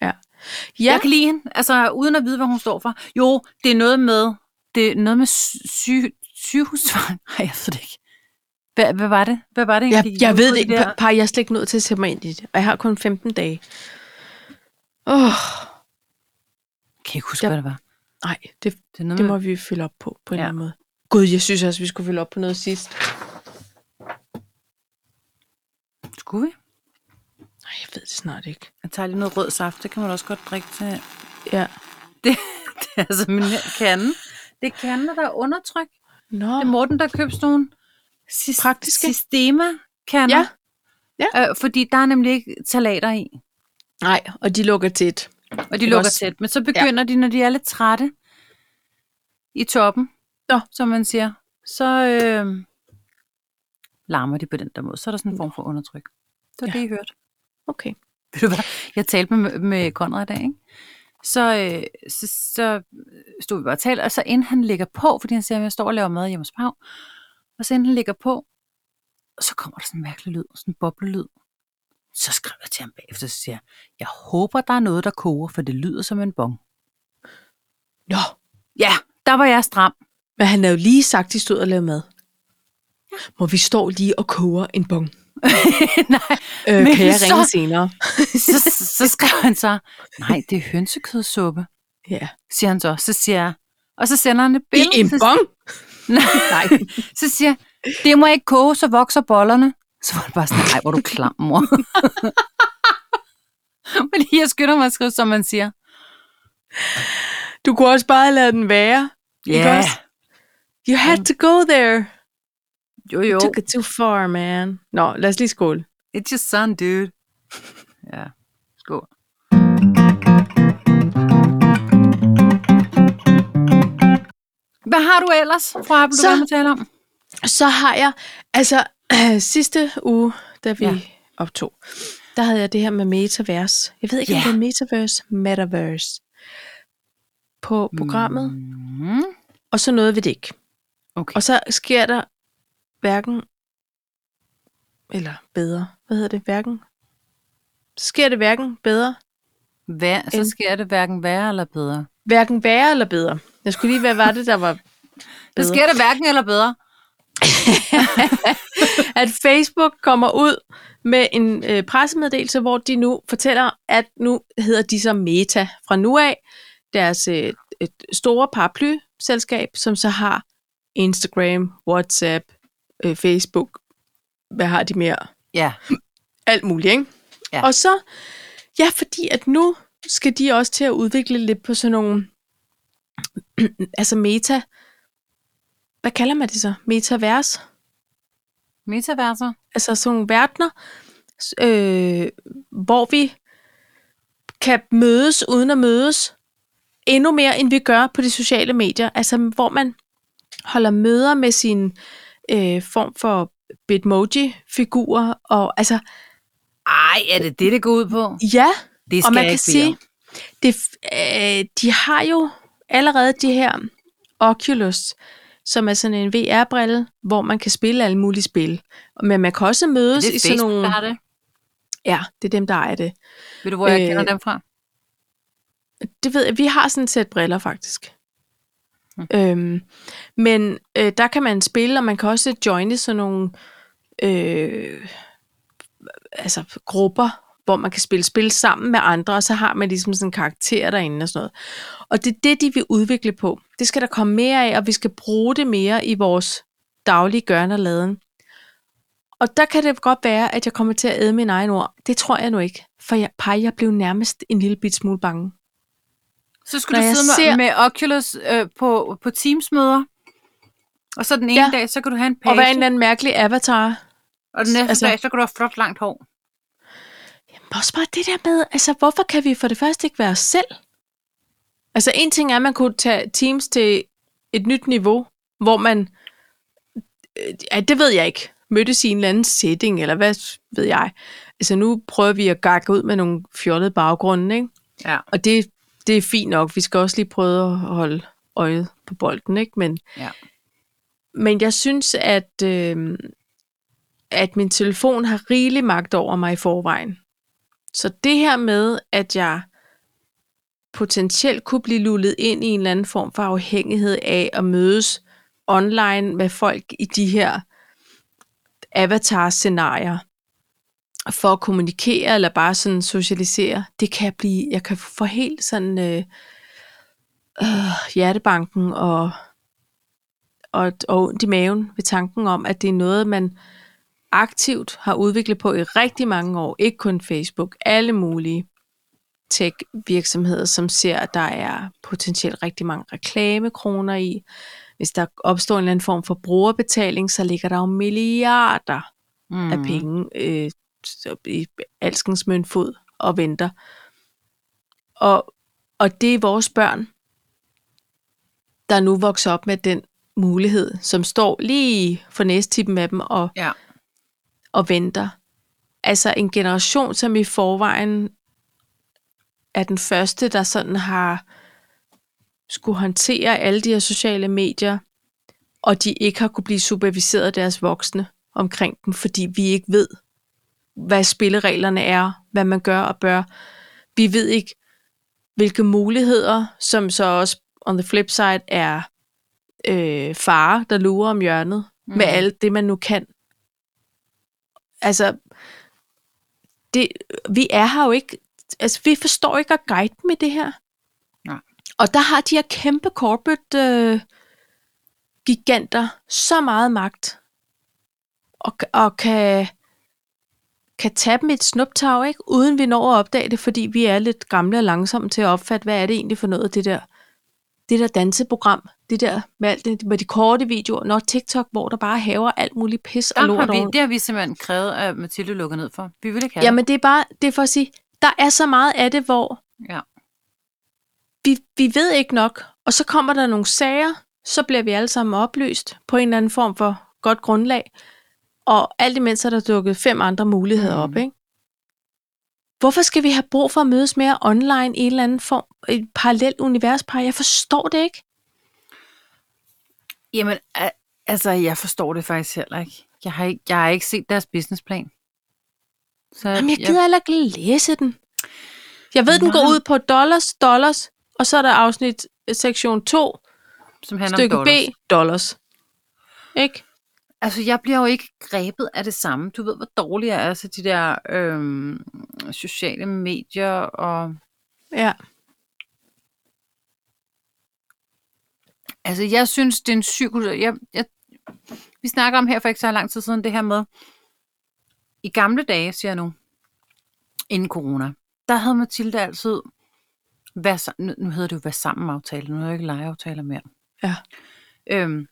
S1: Ja.
S2: Ja.
S1: Ja,
S2: Jeg kan lide hende, altså uden at vide, hvad hun står for. Jo, det er noget med, det er noget med syge, sygehustvang. Nej, jeg ved det ikke. Hvad, hvad var det? Hvad var det
S1: jeg,
S2: egentlig?
S1: jeg
S2: Ud
S1: ved
S2: på
S1: det ikke.
S2: der-
S1: Par, jeg er slet ikke nødt til at sætte mig ind i det. Og jeg har kun 15 dage. Åh, oh,
S2: Kan jeg ikke huske,
S1: Jeg-
S2: hvad det var?
S1: nej, det,
S2: Det er noget
S1: det
S2: med,
S1: må vi fylde op på, på en
S2: Mm. Ja.
S1: eller anden måde. Gud, jeg synes også, vi skulle fylde op på noget sidst.
S2: skulle vi?
S1: Nej, jeg ved det snart ikke.
S2: Jeg tager lige noget rød saft, det kan man også godt drikke til.
S1: Ja.
S2: Det, det er altså min kande. Det er kander, der er undertryk.
S1: Nå,
S2: Det er Morten, der købte sådan nogle sis-
S1: Praktiske.
S2: Systema-kander.
S1: Ja.
S2: Ja. Øh, fordi der er nemlig ikke talater i.
S1: nej, og de lukker tæt.
S2: Og de
S1: Ikke
S2: lukker
S1: også?
S2: tæt. Men så begynder ja. de, når de er lidt trætte i toppen,
S1: Nå.
S2: som man siger, så øh, larmer de på den der måde. Så er der sådan en form for undertryk. Det var ja.
S1: Ja.
S2: det, I hørte.
S1: Okay.
S2: Ved du hvad? Jeg talte med, med Conrad i dag, ikke? Så, øh, så, så stod vi bare og talte, og så inden han ligger på, fordi han siger, at jeg står og laver mad hjemme hos Pau, og så inden han ligger på, så kommer der sådan en mærkelig lyd, sådan en boblelyd. Så skrev jeg til ham bagefter, så siger jeg, jeg håber, der er noget, der koger, for det lyder som en bong.
S1: Nå,
S2: Ja, der var jeg stram.
S1: Men han havde jo lige sagt, de stod og lavede mad. Må vi står lige og koger en bong?
S2: Nej,
S1: Øh,
S2: Men
S1: kan jeg
S2: så-
S1: ringe senere?
S2: så, så, så skrev han så, nej, det er hønsekødsuppe,
S1: Ja.
S2: siger han så. Så siger jeg, og så sender han et
S1: I
S2: billede.
S1: en
S2: så,
S1: bong?
S2: nej, så siger jeg, det må jeg ikke koge, så vokser bollerne. Så var det bare sådan, nej, hvor er du klam, mor. Fordi jeg skynder mig at skrive, som man siger.
S1: Du kunne også bare lade den være.
S2: Ja.
S1: Ikke også? You had
S2: Mm.
S1: to go there.
S2: Jo, jo.
S1: You took it too far, man. Nå, lad os lige skåle.
S2: It's your son, dude. Ja, skål. Hvad har du ellers, fra Apple,
S1: Så-
S2: du vil tale om?
S1: Så har jeg, altså øh, sidste uge, da vi
S2: Ja.
S1: ja. optog, der havde jeg det her med metavers. Jeg ved ikke,
S2: Ja.
S1: om det er metavers, metaverse på programmet, mm.
S2: Mm,
S1: og så nåede vi det ikke.
S2: okay.
S1: Og så sker der hverken, eller bedre, hvad hedder det, hverken, så sker det hverken bedre,
S2: Hver, så
S1: en-
S2: sker det hverken værre eller bedre.
S1: hverken værre eller bedre. Jeg skulle lige, hvad var det, der var
S2: Så
S1: bedre?
S2: sker det hverken eller bedre.
S1: at Facebook kommer ud med en øh, pressemeddelelse, hvor de nu fortæller, at nu hedder de så Meta fra nu af, deres øh, et store paraplyselskab, som så har Instagram, WhatsApp, øh, Facebook, hvad har de mere?
S2: Ja,
S1: Alt muligt, ikke?
S2: Ja.
S1: Og så, ja, fordi at nu skal de også til at udvikle lidt på sådan nogle, altså meta, hvad kalder man det så? Metavers?
S2: metaverser.
S1: altså sådan nogle verdener, s- øh, hvor vi kan mødes uden at mødes endnu mere, end vi gør på de sociale medier. Altså hvor man holder møder med sin øh, form for bitmoji-figurer. Og, altså,
S2: Ej, er det det, det går ud på?
S1: ja,
S2: Det skal
S1: og man
S2: jeg
S1: kan
S2: ikke bede om.
S1: sige, det, f- øh, de har jo allerede de her Oculus, som er sådan en VR-brille, hvor man kan spille alle mulige spil. Men man kan også
S2: Er
S1: mødes
S2: det
S1: i sådan
S2: Facebook,
S1: nogle...
S2: der har det?
S1: Ja, det er dem, der ejer det.
S2: Ved du, hvor jeg
S1: Øh,
S2: kender dem fra?
S1: Det ved jeg. Vi har sådan et sæt briller, faktisk.
S2: Mm.
S1: Øhm, men øh, der kan man spille, og man kan også joine sådan nogle øh, altså grupper, hvor man kan spille spil sammen med andre, og så har man ligesom sådan en karakter derinde og sådan noget. Og det er det, de vil udvikle på. Det skal der komme mere af, og vi skal bruge det mere i vores daglige gørn og laden. Og der kan det godt være, at jeg kommer til at æde min egen ord. Det tror jeg nu ikke, for jeg, pej, jeg blev nærmest en lille bit smule bange.
S2: Så skulle
S1: Når
S2: du
S1: jeg
S2: sidde
S1: ser-
S2: ser... med Oculus øh, på, på Teams-møder, og så den ene
S1: Ja.
S2: ja. dag, så kan du have en page,
S1: Og være en eller anden mærkelig avatar.
S2: og den næste
S1: altså-
S2: altså... dag, så kan du have flot langt hår.
S1: Men også bare det der med, altså hvorfor kan vi for det første ikke være os selv? Altså en ting er, at man kunne tage Teams til et nyt niveau, hvor man, øh, ja, det ved jeg ikke, mødtes i en eller anden setting, eller hvad ved jeg. Altså nu prøver vi at gakke ud med nogle fjollede baggrunde, ikke?
S2: Ja.
S1: Og det, det er fint nok. Vi skal også lige prøve at holde øjet på bolden, ikke? Men,
S2: Ja.
S1: men jeg synes, at, øh, at min telefon har rigelig magt over mig i forvejen. Så det her med, at jeg potentielt kunne blive lullet ind i en eller anden form for afhængighed af at mødes online med folk i de her avatar-scenarier for at kommunikere eller bare sådan socialisere, det kan blive, jeg kan få helt sådan øh, øh, hjertebanken og, og, og ondt i maven ved tanken om, at det er noget, man aktivt har udviklet på i rigtig mange år, ikke kun Facebook, alle mulige tech-virksomheder, som ser, at der er potentielt rigtig mange reklamekroner i. Hvis der opstår en eller anden form for brugerbetaling, så ligger der jo milliarder
S2: Mm.
S1: af penge øh, så i alskens møntfod og venter. Og, og det er vores børn, der nu vokser op med den mulighed, som står lige for næstippen af dem og,
S2: Ja.
S1: og venter. Altså en generation, som i forvejen er den første, der sådan har skulle håndtere alle de her sociale medier, og de ikke har kunne blive superviseret af deres voksne omkring dem, fordi vi ikke ved, hvad spillereglerne er, hvad man gør og bør. Vi ved ikke, hvilke muligheder, som så også on the flip side er øh, fare, der lurer om hjørnet mm. med
S2: Mhm.
S1: alt det, man nu kan. Altså, det, vi er her jo ikke, altså vi forstår ikke at guide med det her.
S2: Nej.
S1: Og der har de her kæmpe corporate øh, giganter så meget magt, og, og kan, kan tage dem i et snuptag, ikke? uden vi når at opdage det, fordi vi er lidt gamle og langsomme til at opfatte, hvad er det egentlig for noget, det der, det der danseprogram, det der med, alt det, med de korte videoer, når TikTok, hvor der bare haver alt muligt pis og
S2: Der
S1: lort
S2: har vi,
S1: over.
S2: det har vi simpelthen krævet, at Mathilde lukker ned for. Vi vil ikke have
S1: Jamen det er bare, det er for at sige, der er så meget af det, hvor
S2: det. Ja.
S1: vi, vi ved ikke nok, og så kommer der nogle sager, så bliver vi alle sammen opløst på en eller anden form for godt grundlag, og alt imens er der dukket fem andre muligheder
S2: Mm.
S1: op, ikke? Hvorfor skal vi have brug for at mødes mere online i en eller anden form, et parallelt universpar? Jeg forstår det ikke.
S2: Jamen, a- altså, jeg forstår det faktisk heller ikke. Jeg har ikke, jeg har ikke set deres businessplan. Så
S1: Jamen, jeg gider heller ikke læse den. Jeg ved, den går
S2: Nej.
S1: ud på dollars, dollars, og så er der afsnit eh, sektion 2,
S2: som handler om
S1: stykke B,
S2: dollars.
S1: dollars. Ikke?
S2: Altså, jeg bliver jo ikke grebet af det samme. Du ved, hvor dårlig jeg er til de der øhm, sociale medier og...
S1: Ja.
S2: Altså, jeg synes, det er en cyklus. Jeg, jeg, vi snakker om her for ikke så lang tid siden det her med, i gamle dage, siger jeg nu, inden corona, der havde Mathilde altid, vær, sa- nu, nu hedder det jo, vær sammen aftale, nu hedder det ikke legeaftaler mere.
S1: Ja.
S2: Øhm,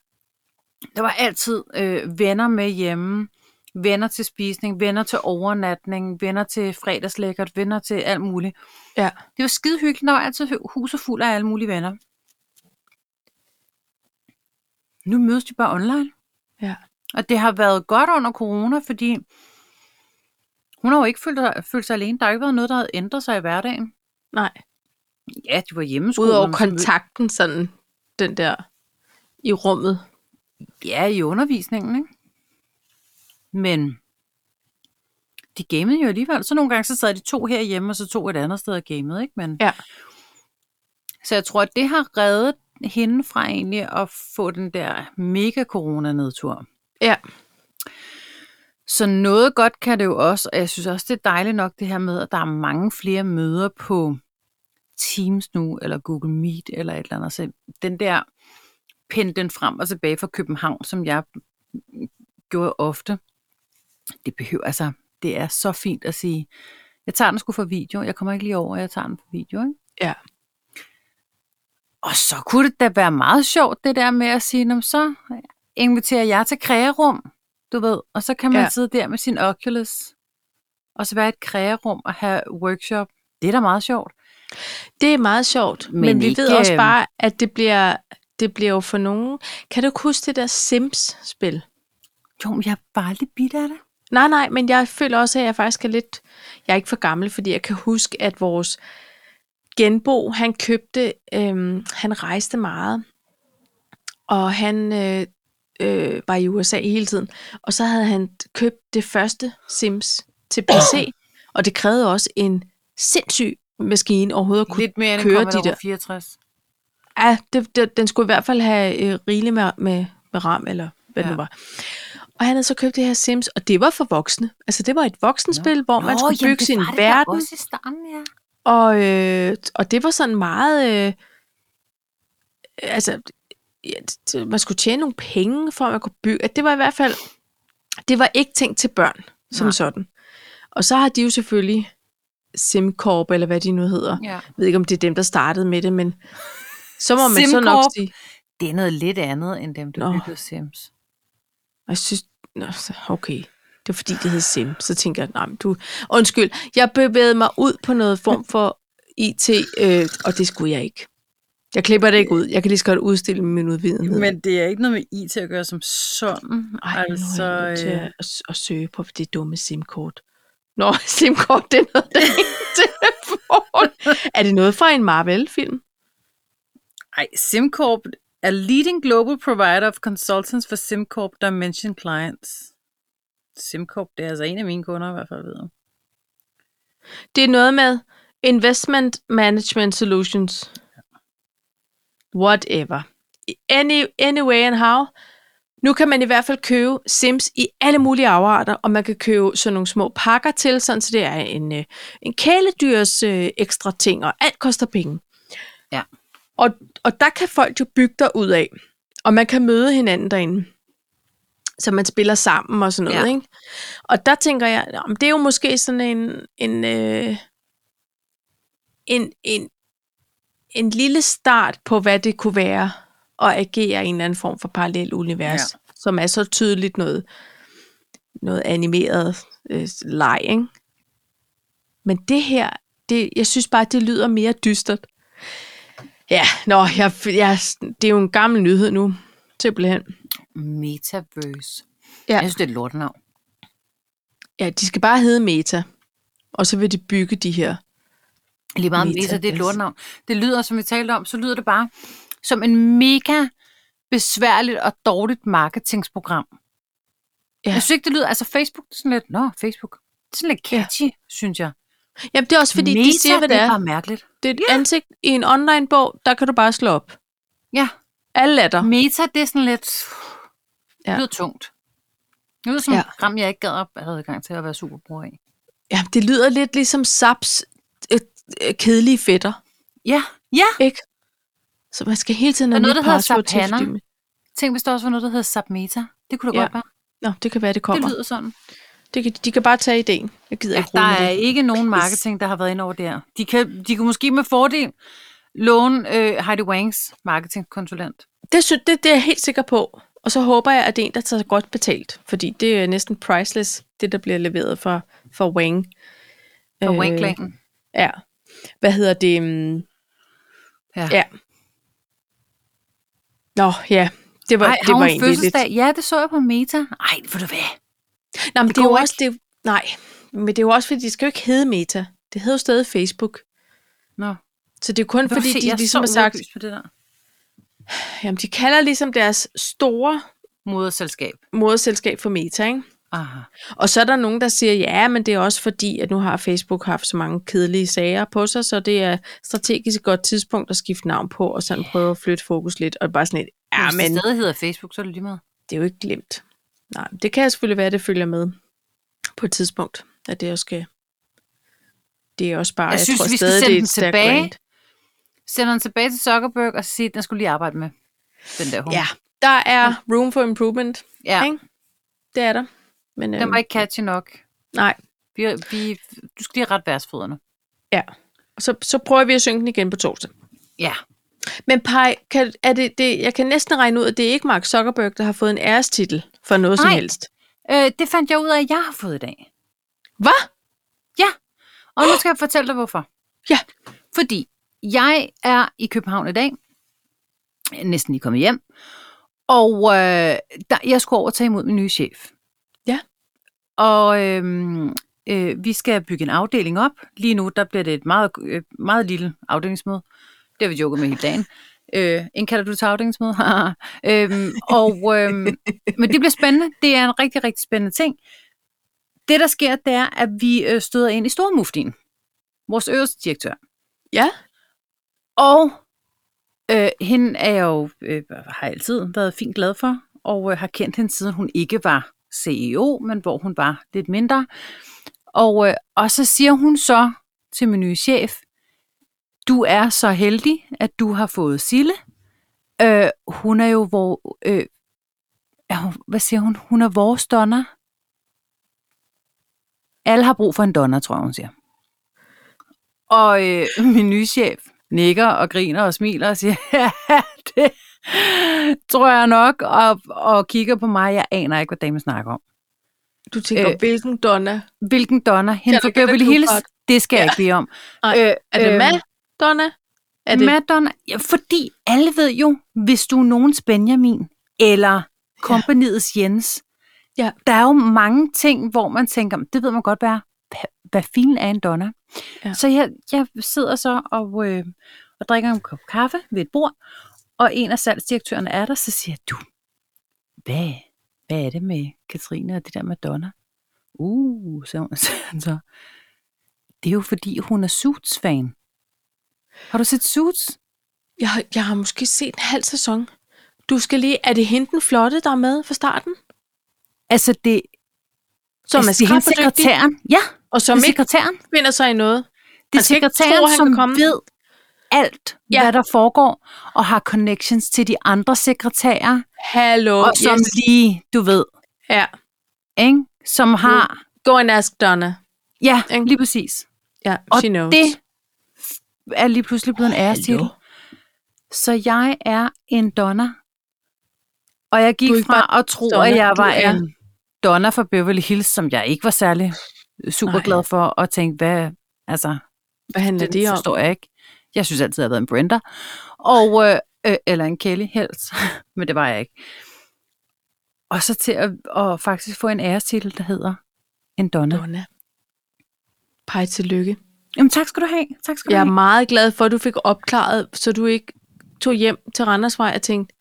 S2: der var altid øh, venner med hjemme, venner til spisning, venner til overnatning, venner til fredagslækkert, venner til alt muligt.
S1: Ja.
S2: Det var skide hyggeligt, der var altid hu- huset fuld af alle mulige venner. Nu mødes de bare online.
S1: Ja.
S2: Og det har været godt under corona, fordi hun har jo ikke følt, følt sig alene. Der har ikke været noget, der havde ændret sig i hverdagen.
S1: Nej.
S2: Ja, de var hjemmeskole.
S1: Udover kontakten, sådan den der i rummet.
S2: Ja, i undervisningen, ikke? Men de gamede jo alligevel. Så nogle gange så sad de to herhjemme, og så to et andet sted og gamede, ikke? Men,
S1: Ja.
S2: Så jeg tror, at det har reddet hende fra egentlig at få den der mega coronanedtur.
S1: Ja.
S2: Så noget godt kan det jo også, og jeg synes også, det er dejligt nok det her med, at der er mange flere møder på Teams nu, eller Google Meet, eller et eller andet. Så den der pinde den frem og tilbage fra København, som jeg gjorde ofte, det behøver, altså, det er så fint at sige, jeg tager den sgu for video, jeg kommer ikke lige over, jeg tager den for video, ikke?
S1: Ja.
S2: Og så kunne det da være meget sjovt, det der med at sige, "Nå, men så inviterer jeg til krægerum, du ved, og så kan man
S1: Ja.
S2: ja. sidde der med sin Oculus, og så være i et krægerum og have workshop. Det er da meget sjovt.
S1: Det er meget sjovt, men,
S2: Men
S1: men vi
S2: ikke,
S1: ved også
S2: øhm,
S1: bare, at det bliver, det bliver jo for nogen... Kan du ikke huske det der Sims-spil?
S2: Jo, men jeg er bare lidt bidt af det.
S1: Nej, nej, men jeg føler også, at jeg faktisk er lidt... Jeg er ikke for gammel, fordi jeg kan huske, at vores genbo, han købte... Øhm, han rejste meget, og han øh, øh, var i USA hele tiden. Og så havde han købt det første Sims til PC, og det krævede også en sindssyg maskine overhovedet at kunne
S2: Lidt mere end
S1: køre
S2: en
S1: de
S2: Commodore
S1: der.
S2: 64.
S1: Ja, det, det, den skulle i hvert fald have øh, rigeligt med, med, med ram, eller hvad ja. det nu
S2: Ja.
S1: var. Og han havde så købt det her Sims, og det var for voksne. Altså, det var et voksenspil, hvor man skulle
S2: jamen,
S1: bygge
S2: det
S1: sin
S2: var det da
S1: verden,
S2: Også i starten, ja.
S1: og, øh, og det var sådan meget... Øh, altså, ja, det- det- man skulle tjene nogle penge, for at man kunne bygge. Det var i hvert fald... Det var ikke tænkt til børn, som Nej.
S2: Nej.
S1: sådan. Og så har de jo selvfølgelig SimCorp, eller hvad de nu hedder.
S2: ja.
S1: Jeg ved ikke, om det er dem, der startede med det, men så må man så nok
S2: SimCorp.
S1: sige...
S2: Det er noget lidt andet, end dem, der
S1: Nå.
S2: Nå. byggede Sims.
S1: Og jeg synes, nå, så- okay, det var fordi, det hed Sim. Så tænker jeg, nej, men du, undskyld, jeg bevægede mig ud på noget form for IT, øh, og det skulle jeg ikke. Jeg klipper det ikke ud. Jeg kan lige så godt udstille min udvidenhed.
S2: det er ikke noget med IT at gøre som sådan.
S1: Ej, altså, nu er jeg nødt til
S2: øh,
S1: at, at, at søge på det dumme SIM-kort. Nå, SIM-kort, det er noget, der er i en telefon. Er det noget fra en Marvel-film?
S2: Ej, SimCorp er leading global provider of consultants for SimCorp Dimension clients. SimCorp, det er altså en af mine kunder i hvert fald, ved jeg.
S1: Det er noget med Investment Management Solutions. Whatever. Any, anyway and how. Nu kan man i hvert fald købe Sims i alle mulige afarter, og man kan købe sådan nogle små pakker til, sådan, så det er en, øh, en kæledyrs øh, ekstra ting, og alt koster penge.
S2: Ja.
S1: Og, og der kan folk jo bygge der ud af, og man kan møde hinanden derinde. så man spiller sammen og sådan noget.
S2: Ja.
S1: Ja. Ikke? Og der tænker jeg, "Nå, men det er jo måske sådan en, en, øh, en, en, en lille start på, hvad det kunne være at agere i en eller anden form for parallel univers, ja. som er så tydeligt noget, noget animeret øh, leg. Ikke? Men det her, det, jeg synes bare, det lyder mere dystert. Ja, nå, jeg, jeg, det er jo en gammel nyhed nu, simpelthen.
S2: Metaverse.
S1: Ja.
S2: Jeg synes, det er et lortenavn.
S1: Ja, de skal bare hedde Meta. Og så vil de bygge de her.
S2: Lige meget Meta,
S1: Metaverse.
S2: det er et lortenavn. Det lyder, som vi talte om, så lyder det bare som en mega besværligt og dårligt marketingsprogram. Ja.
S1: Ja.
S2: Jeg synes ikke, det lyder... Altså Facebook, det er sådan lidt... Nå, Facebook. Det er sådan lidt
S1: Ja.
S2: catchy, synes jeg.
S1: Jamen, det er også fordi, Meta, de siger, hvad det
S2: det
S1: er.
S2: bare mærkeligt.
S1: Det er et ansigt i en online-bog, der kan du bare slå op.
S2: Ja,
S1: Alle er der.
S2: meta, det er sådan lidt... Ja.
S1: Ja.
S2: Det lyder tungt. Det lyder som ja.
S1: Ja.
S2: et program, jeg ikke gad op, havde adgang til at være superbruger i.
S1: Ja, det lyder lidt ligesom Saps øh, øh, kedelige fætter,
S2: Ja, ja.
S1: ikke? Så man skal hele tiden
S2: Og
S1: have
S2: noget,
S1: nyt
S2: der hedder
S1: password til,
S2: Zapana.
S1: fordi-
S2: Tænk, hvis der også var noget, der hedder Submeta. Det kunne da ja.
S1: Ja,
S2: godt være.
S1: Nå, det kan være, det
S2: Det
S1: kommer. Det
S2: lyder sådan.
S1: det kan, de kan bare tage ideen. Jeg gider
S2: Ja,
S1: ikke
S2: der
S1: rulle med
S2: er
S1: det.
S2: ikke nogen marketing, der har været inde over det her. De kan, de kan måske med fordel låne øh, Heidi Wangs marketingkonsulent.
S1: Det, sy- det, det er jeg helt sikker på. Og så håber jeg, at det er en, der tager godt betalt. Fordi det er næsten priceless, det der bliver leveret fra, fra Wang.
S2: Og øh. Wang-klanen.
S1: Ja. Hvad hedder det? Mm,
S2: Ja.
S1: ja. Nå, ja. Det var,
S2: Ej,
S1: det
S2: har
S1: var
S2: hun
S1: egentlig
S2: fødselsdag?
S1: lidt...
S2: Ja, det så jeg på Meta. Ej, for du hvad?
S1: Nej, men det,
S2: Det
S1: det er jo
S2: går
S1: også... Det, nej, men det er jo også, fordi de skal jo ikke hedde Meta. Det hedder jo stadig Facebook.
S2: Nå,
S1: Så det er kun, fordi de ligesom har sagt...
S2: på det der.
S1: Jamen, de kalder ligesom deres store
S2: Moderselskab.
S1: moderselskab for Meta, ikke?
S2: Aha.
S1: Og så er der nogen, der siger, ja, men det er også fordi, at nu har Facebook haft så mange kedelige sager på sig, så det er strategisk et godt tidspunkt at skifte navn på, og sådan prøve at flytte fokus lidt, og bare sådan et, ja,
S2: Hvis
S1: men
S2: det stadig hedder Facebook, så er det lige meget.
S1: det er jo ikke glemt. Nej, det kan selvfølgelig være, at det følger med på et tidspunkt, at det også skal... Det er også bare,
S2: Jeg
S1: jeg,
S2: synes,
S1: tror
S2: vi skal
S1: stadig, det er
S2: sende den
S1: et stærkt
S2: tilbage.
S1: brand.
S2: Sender den tilbage til Zuckerberg og siger, at den skulle lige arbejde med den der hund.
S1: Ja, der er room for improvement.
S2: ja.
S1: ikke? Det er der. Men,
S2: Den
S1: øhm,
S2: var ikke catchy nok.
S1: nej,
S2: Vi, vi, du skal lige have ret værtsfødderne.
S1: ja. Så, så prøver vi at synge den igen på torsdag.
S2: Ja.
S1: Men Pai, kan, er det, det, jeg kan næsten regne ud, at det er ikke Mark Zuckerberg, der har fået en ærestitel for noget Nej. som
S2: Nej.
S1: helst.
S2: Øh, det fandt jeg ud af, at jeg har fået i dag.
S1: Hvad?
S2: Og nu skal jeg fortælle dig, hvorfor.
S1: Ja.
S2: Fordi jeg er i København i dag. Jeg er Næsten lige kommet hjem. Og øh, der, jeg skulle over og tage imod min nye chef.
S1: Ja.
S2: Og øh, øh, vi skal bygge en afdeling op. Lige nu, der bliver det et meget, øh, meget lille afdelingsmøde. Det har vi joket med hele dagen. Øh, indkalder du til afdelingsmøde? øhm, og, øhm, men det bliver spændende. Det er en rigtig, rigtig spændende ting. Det, der sker, det er, at vi øh, støder ind i Stormuftien, vores øverste direktør.
S1: Ja.
S2: Og øh, hende er jeg jo, øh, har jeg altid været fint glad for, og øh, har kendt hende siden hun ikke var CEO, men hvor hun var lidt mindre. Og, øh, og så siger hun så til min nye chef, du er så heldig, at du har fået Sille. Øh, hun er jo hvor, øh, er hun, hvad siger hun? Hun er vores donner. Alle har brug for en donner, tror jeg, hun siger. Og øh, min nye chef nikker og griner og smiler og siger, ja, det tror jeg nok, og, og kigger på mig. Jeg aner ikke, hvad damen snakker om.
S1: Du tænker,
S2: Øh,
S1: øh, hvilken Donna?
S2: Hvilken donner?
S1: Kan
S2: Hende fra
S1: du gøre
S2: Beverly
S1: det,
S2: Hills?
S1: Klubhart?
S2: Det skal jeg ikke bede om.
S1: Nej.
S2: Øh,
S1: Er det
S2: øh,
S1: øh, Mad Donna? Er det,
S2: Madonna, ja, fordi alle ved jo, hvis du er nogens Benjamin, eller kompaniets ja. Jens,
S1: Ja.
S2: der er jo mange ting, hvor man tænker, det ved man godt, hvad, er. Hva- hvad filen er en donna. Ja.
S1: Ja.
S2: Så jeg, jeg sidder så og, øh, og drikker en kop kaffe ved et bord, og en af salgsdirektørerne er der, så siger jeg, du, hvad, hvad er det med Katrine og det der med donna? Uh, så hun så. Det er jo fordi, hun er Suits-fan. Har du set Suits?
S1: jeg, har- jeg har måske set en halv sæson. Du skal lige, er det hende den flotte, der er med fra starten?
S2: Altså det,
S1: Som
S2: altså,
S1: er
S2: det er hende
S1: skrabedygtig,
S2: sekretæren. Ja,
S1: og som
S2: det er
S1: ikke
S2: sekretæren.
S1: finder sig i noget.
S2: Det er
S1: Han skal ikke
S2: sekretæren,
S1: tro, han
S2: som
S1: kan komme.
S2: ved alt, ja.
S1: Ja.
S2: hvad der foregår, og har connections til de andre sekretærer,
S1: Hallo,
S2: og som
S1: yes.
S2: lige, du ved,
S1: Ja.
S2: ikke? som har...
S1: Go and ask Donna.
S2: Ja,
S1: Ikke?
S2: lige præcis.
S1: Ja,
S2: Og
S1: she knows.
S2: det er lige pludselig blevet en ærestitel.
S1: Hallo.
S2: Så jeg er en donner. Og jeg
S1: Du er
S2: gik
S1: ikke
S2: fra at tro,
S1: donner,
S2: at jeg
S1: du
S2: var
S1: er-
S2: en donner fra Beverly Hills, som jeg ikke var særlig super
S1: Nej.
S2: glad for, og tænkte, hvad, altså,
S1: Hvad handler
S2: det
S1: det om?
S2: forstår jeg ikke. Jeg synes altid, jeg har været en Brenda. Og, øh, øh, eller en Kelly helst, men det var jeg ikke. Og så til at, at faktisk få en ærestitel, der hedder en donner.
S1: Donna. Pej tillykke.
S2: Jamen tak skal du have. Tak skal du
S1: Jeg er
S2: have.
S1: meget glad for, at du fik opklaret, så du ikke tog hjem til Randersvej og tænkte,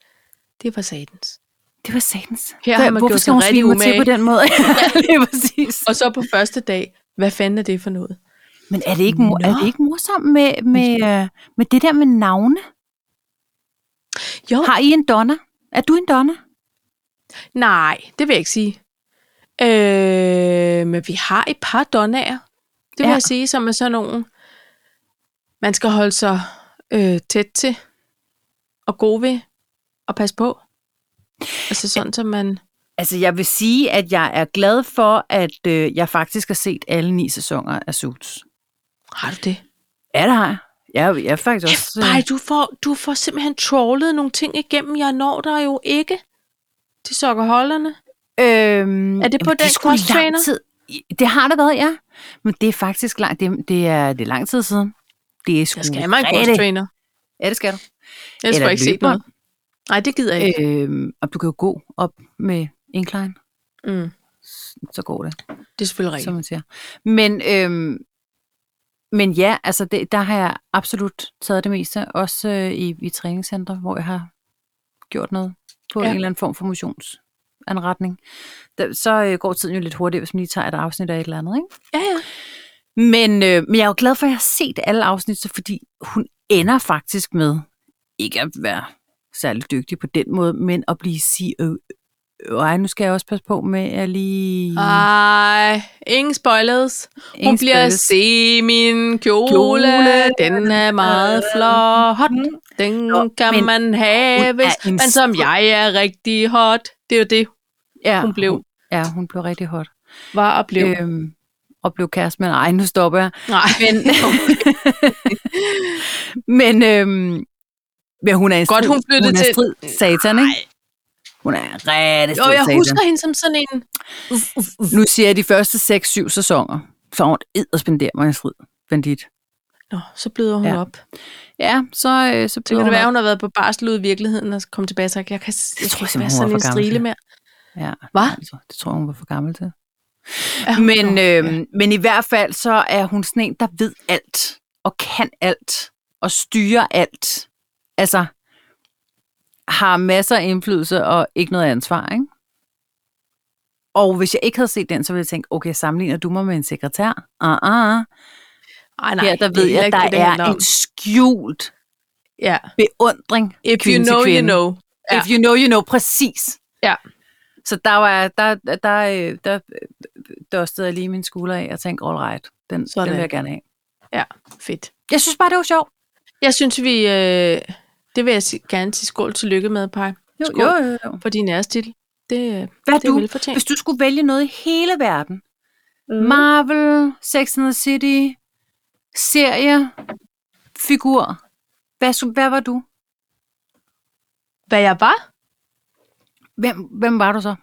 S1: det var satans.
S2: Det var satans.
S1: Her har man
S2: Hvorfor
S1: gjort
S2: skal
S1: sig
S2: hun
S1: rigtig
S2: svine mig til
S1: umage.
S2: på den måde? ja, det er præcis.
S1: Og så på første dag, hvad fanden er det for noget?
S2: Men er det ikke, mo- er
S1: Nå.
S2: det ikke morsomt med, med, øh, med det der med navne?
S1: Jo,
S2: Har I en donna? Er du en donna?
S1: nej, det vil jeg ikke sige. Øh, men vi har et par donnager, det vil
S2: Ja.
S1: ja. jeg sige, som er sådan nogen, man skal holde sig øh, tæt til og god ved og passe på. Altså sådan, som man...
S2: Altså, jeg vil sige, at jeg er glad for, at øh, jeg faktisk har set alle ni sæsoner af Suits.
S1: Har du det?
S2: Ja, det har jeg. Jeg, jeg er faktisk
S1: Kæft,
S2: også... øh,
S1: Bej, du får, du får simpelthen trollet nogle ting igennem, jeg når der jo ikke til sokkerholderne.
S2: øhm,
S1: Er det på
S2: jamen,
S1: den
S2: sgu lang
S1: crosstrainer?
S2: tid. Det har det været, ja. Men det er faktisk lang, det, det er, det er lang tid siden. Det er sgu
S1: Jeg skal have mig en
S2: rigtig-
S1: crosstrainer.
S2: Ja, det skal du.
S1: Ellers får
S2: Mm. Eller
S1: jeg ikke set
S2: løberen.
S1: noget. Nej, det gider jeg ikke.
S2: Øhm, og du kan jo gå op med incline,
S1: Mm,
S2: så går det,
S1: det er selvfølgelig
S2: Øh. som
S1: rigtigt.
S2: man siger. Men, øhm, men ja, altså det, der har jeg absolut taget det meste, også øh, i, i træningscenter, hvor jeg har gjort noget på
S1: Ja.
S2: ja. en eller anden form for motionsanretning. Der, så øh, går tiden jo lidt hurtigt, hvis man lige tager et afsnit af et eller andet, ikke?
S1: Ja, ja.
S2: Men, øh, men jeg er jo glad for, at jeg har set alle afsnit, så fordi hun ender faktisk med ikke at være særlig dygtig på den måde, men at blive CEO. Ej, nu skal jeg også passe på med at lige...
S1: Ej, ingen spoilers. Ah, Hun
S2: Ingen
S1: bliver
S2: spoilers.
S1: se min kjole.
S2: Kjole.
S1: Den er meget flot. Den
S2: Øh, mm. Nå,
S1: kan
S2: men
S1: man have,
S2: hun
S1: hvis
S2: er en
S1: man som
S2: stor-
S1: jeg er rigtig hot. Det er jo det,
S2: ja,
S1: hun blev.
S2: Ja, hun blev rigtig hot.
S1: var og blev.
S2: Øhm, og blev kæreste med... Ej, nu stopper jeg.
S1: Nej,
S2: Men, men, øhm, men hun er en
S1: Godt,
S2: strid,
S1: hun flyttede
S2: hun er
S1: til-
S2: strid satan, ikke? Hun er en rigtig
S1: jo,
S2: strid
S1: jeg
S2: satan.
S1: husker hende som sådan en... Uff, uff, uff.
S2: Nu siger jeg de første 6-7 sæsoner, så hun edderspenderer mig en strid, bandit.
S1: Nå, så bløder hun
S2: Ja.
S1: ja. op.
S2: Ja, så, øh, så
S1: Så kan
S2: blev hun
S1: det være,
S2: op.
S1: hun har været på barsel ude i virkeligheden, og så kom tilbage og sagde, jeg kan, jeg
S2: tror
S1: kan
S2: jeg
S1: ikke være
S2: simpelthen, hun
S1: sådan
S2: var
S1: en
S2: for gammel
S1: strile
S2: til.
S1: mere.
S2: Ja,
S1: Hva?
S2: nej, det tror- det tror jeg, hun var for gammel til.
S1: Ja,
S2: Men,
S1: nå,
S2: øh,
S1: ja.
S2: men i hvert fald, så er hun sådan en, der ved alt, og kan alt, og styrer alt. Altså, har masser af indflydelse og ikke noget ansvar, ikke? Og hvis jeg ikke havde set den, så ville jeg tænke, okay, sammenligner du mig med en sekretær? Ah, ah, ah.
S1: Ej, nej,
S2: Her der
S1: det er
S2: ved jeg,
S1: heller
S2: at
S1: ikke det,
S2: der
S1: det
S2: er
S1: handler om.
S2: en skjult
S1: Ja.
S2: beundring
S1: If you
S2: kvinde til
S1: know, you
S2: kvinde.
S1: know. Ja.
S2: If you know, you know, præcis.
S1: Ja.
S2: Så der var der, der, der, øh, der øh, dustede jeg lige min skulder af og tænkte, all right, den, den
S1: Sådan.
S2: vil jeg gerne have.
S1: Ja, fedt.
S2: Jeg synes bare, det var sjovt.
S1: Jeg synes, vi... Øh, det vil jeg si- gerne sige skål tillykke med, Paj, Skål.
S2: jo, jo.
S1: for din ærestitel. Det, øh,
S2: Hvad er
S1: det er
S2: du,
S1: velfortjent.
S2: hvis du skulle vælge noget i hele verden, mm. Marvel, Sex and the City, serie, figur, hvad, skulle- hvad var du?
S1: Hvad jeg var?
S2: Hvem, hvem var du så?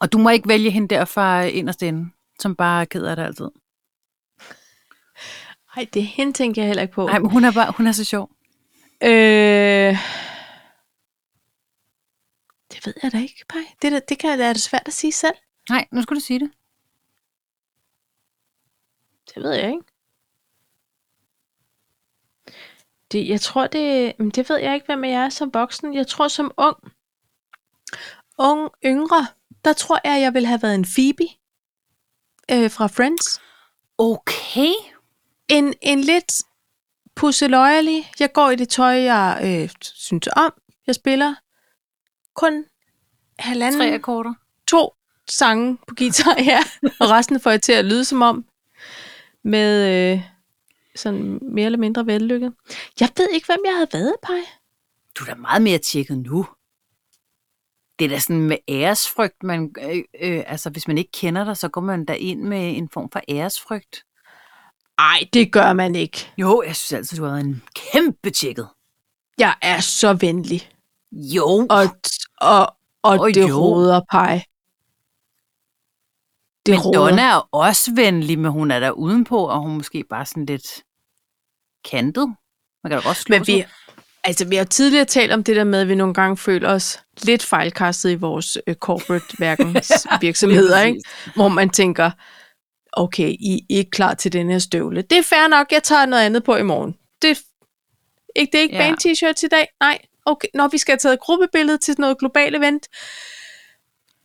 S2: Og du må ikke vælge hende der fra inderst inde, som bare er ked af det altid.
S1: Nej, det hende tænker jeg heller ikke på.
S2: Nej, men hun er, bare, hun er så sjov.
S1: Øh, det ved jeg da ikke, Paj. Det, der, det kan, er det svært at sige selv.
S2: Nej, nu skal du sige det.
S1: Det ved jeg ikke. Det, jeg tror, det, men det ved jeg ikke, hvem jeg er som voksen. Jeg tror, som ung, ung yngre, der tror jeg, jeg ville have været en Phoebe øh, fra Friends.
S2: Okay.
S1: En, en lidt pusseløjerlig. Jeg går i det tøj, jeg øh, synes om. Jeg spiller kun halvanden
S2: Tre akkorder.
S1: to sange på guitar, ja. Og resten får jeg til at lyde som om, med øh, sådan mere eller mindre vellykket. Jeg ved ikke, hvem jeg havde været, Paj.
S2: Du er da meget mere tjekket nu. det er da sådan med æresfrygt, man, øh, øh, altså hvis man ikke kender dig, så går man da ind med en form for æresfrygt.
S1: Ej, det gør man ikke.
S2: Jo, jeg synes altid, du har været en kæmpe tjekket.
S1: Jeg er så venlig.
S2: Jo,
S1: Og, og, og
S2: Og
S1: oh, det
S2: jo.
S1: råder pege. Det
S2: men
S1: roder.
S2: Donna er også venlig, men hun er der udenpå, og hun er måske bare sådan lidt kantet. Man kan da godt slå
S1: Men
S2: sig.
S1: vi, altså, vi har jo tidligere talt om det der med, at vi nogle gange føler os lidt fejlkastet i vores øh, corporate-verdens virksomheder, ikke? hvor man tænker, okay, I er ikke klar til den her støvle. Det er fair nok, jeg tager noget andet på i morgen. Det, er- ikke, det er ikke
S2: Ja.
S1: ja. band t-shirts i dag, nej. Okay, når vi skal have taget et gruppebillede til sådan noget globalt event,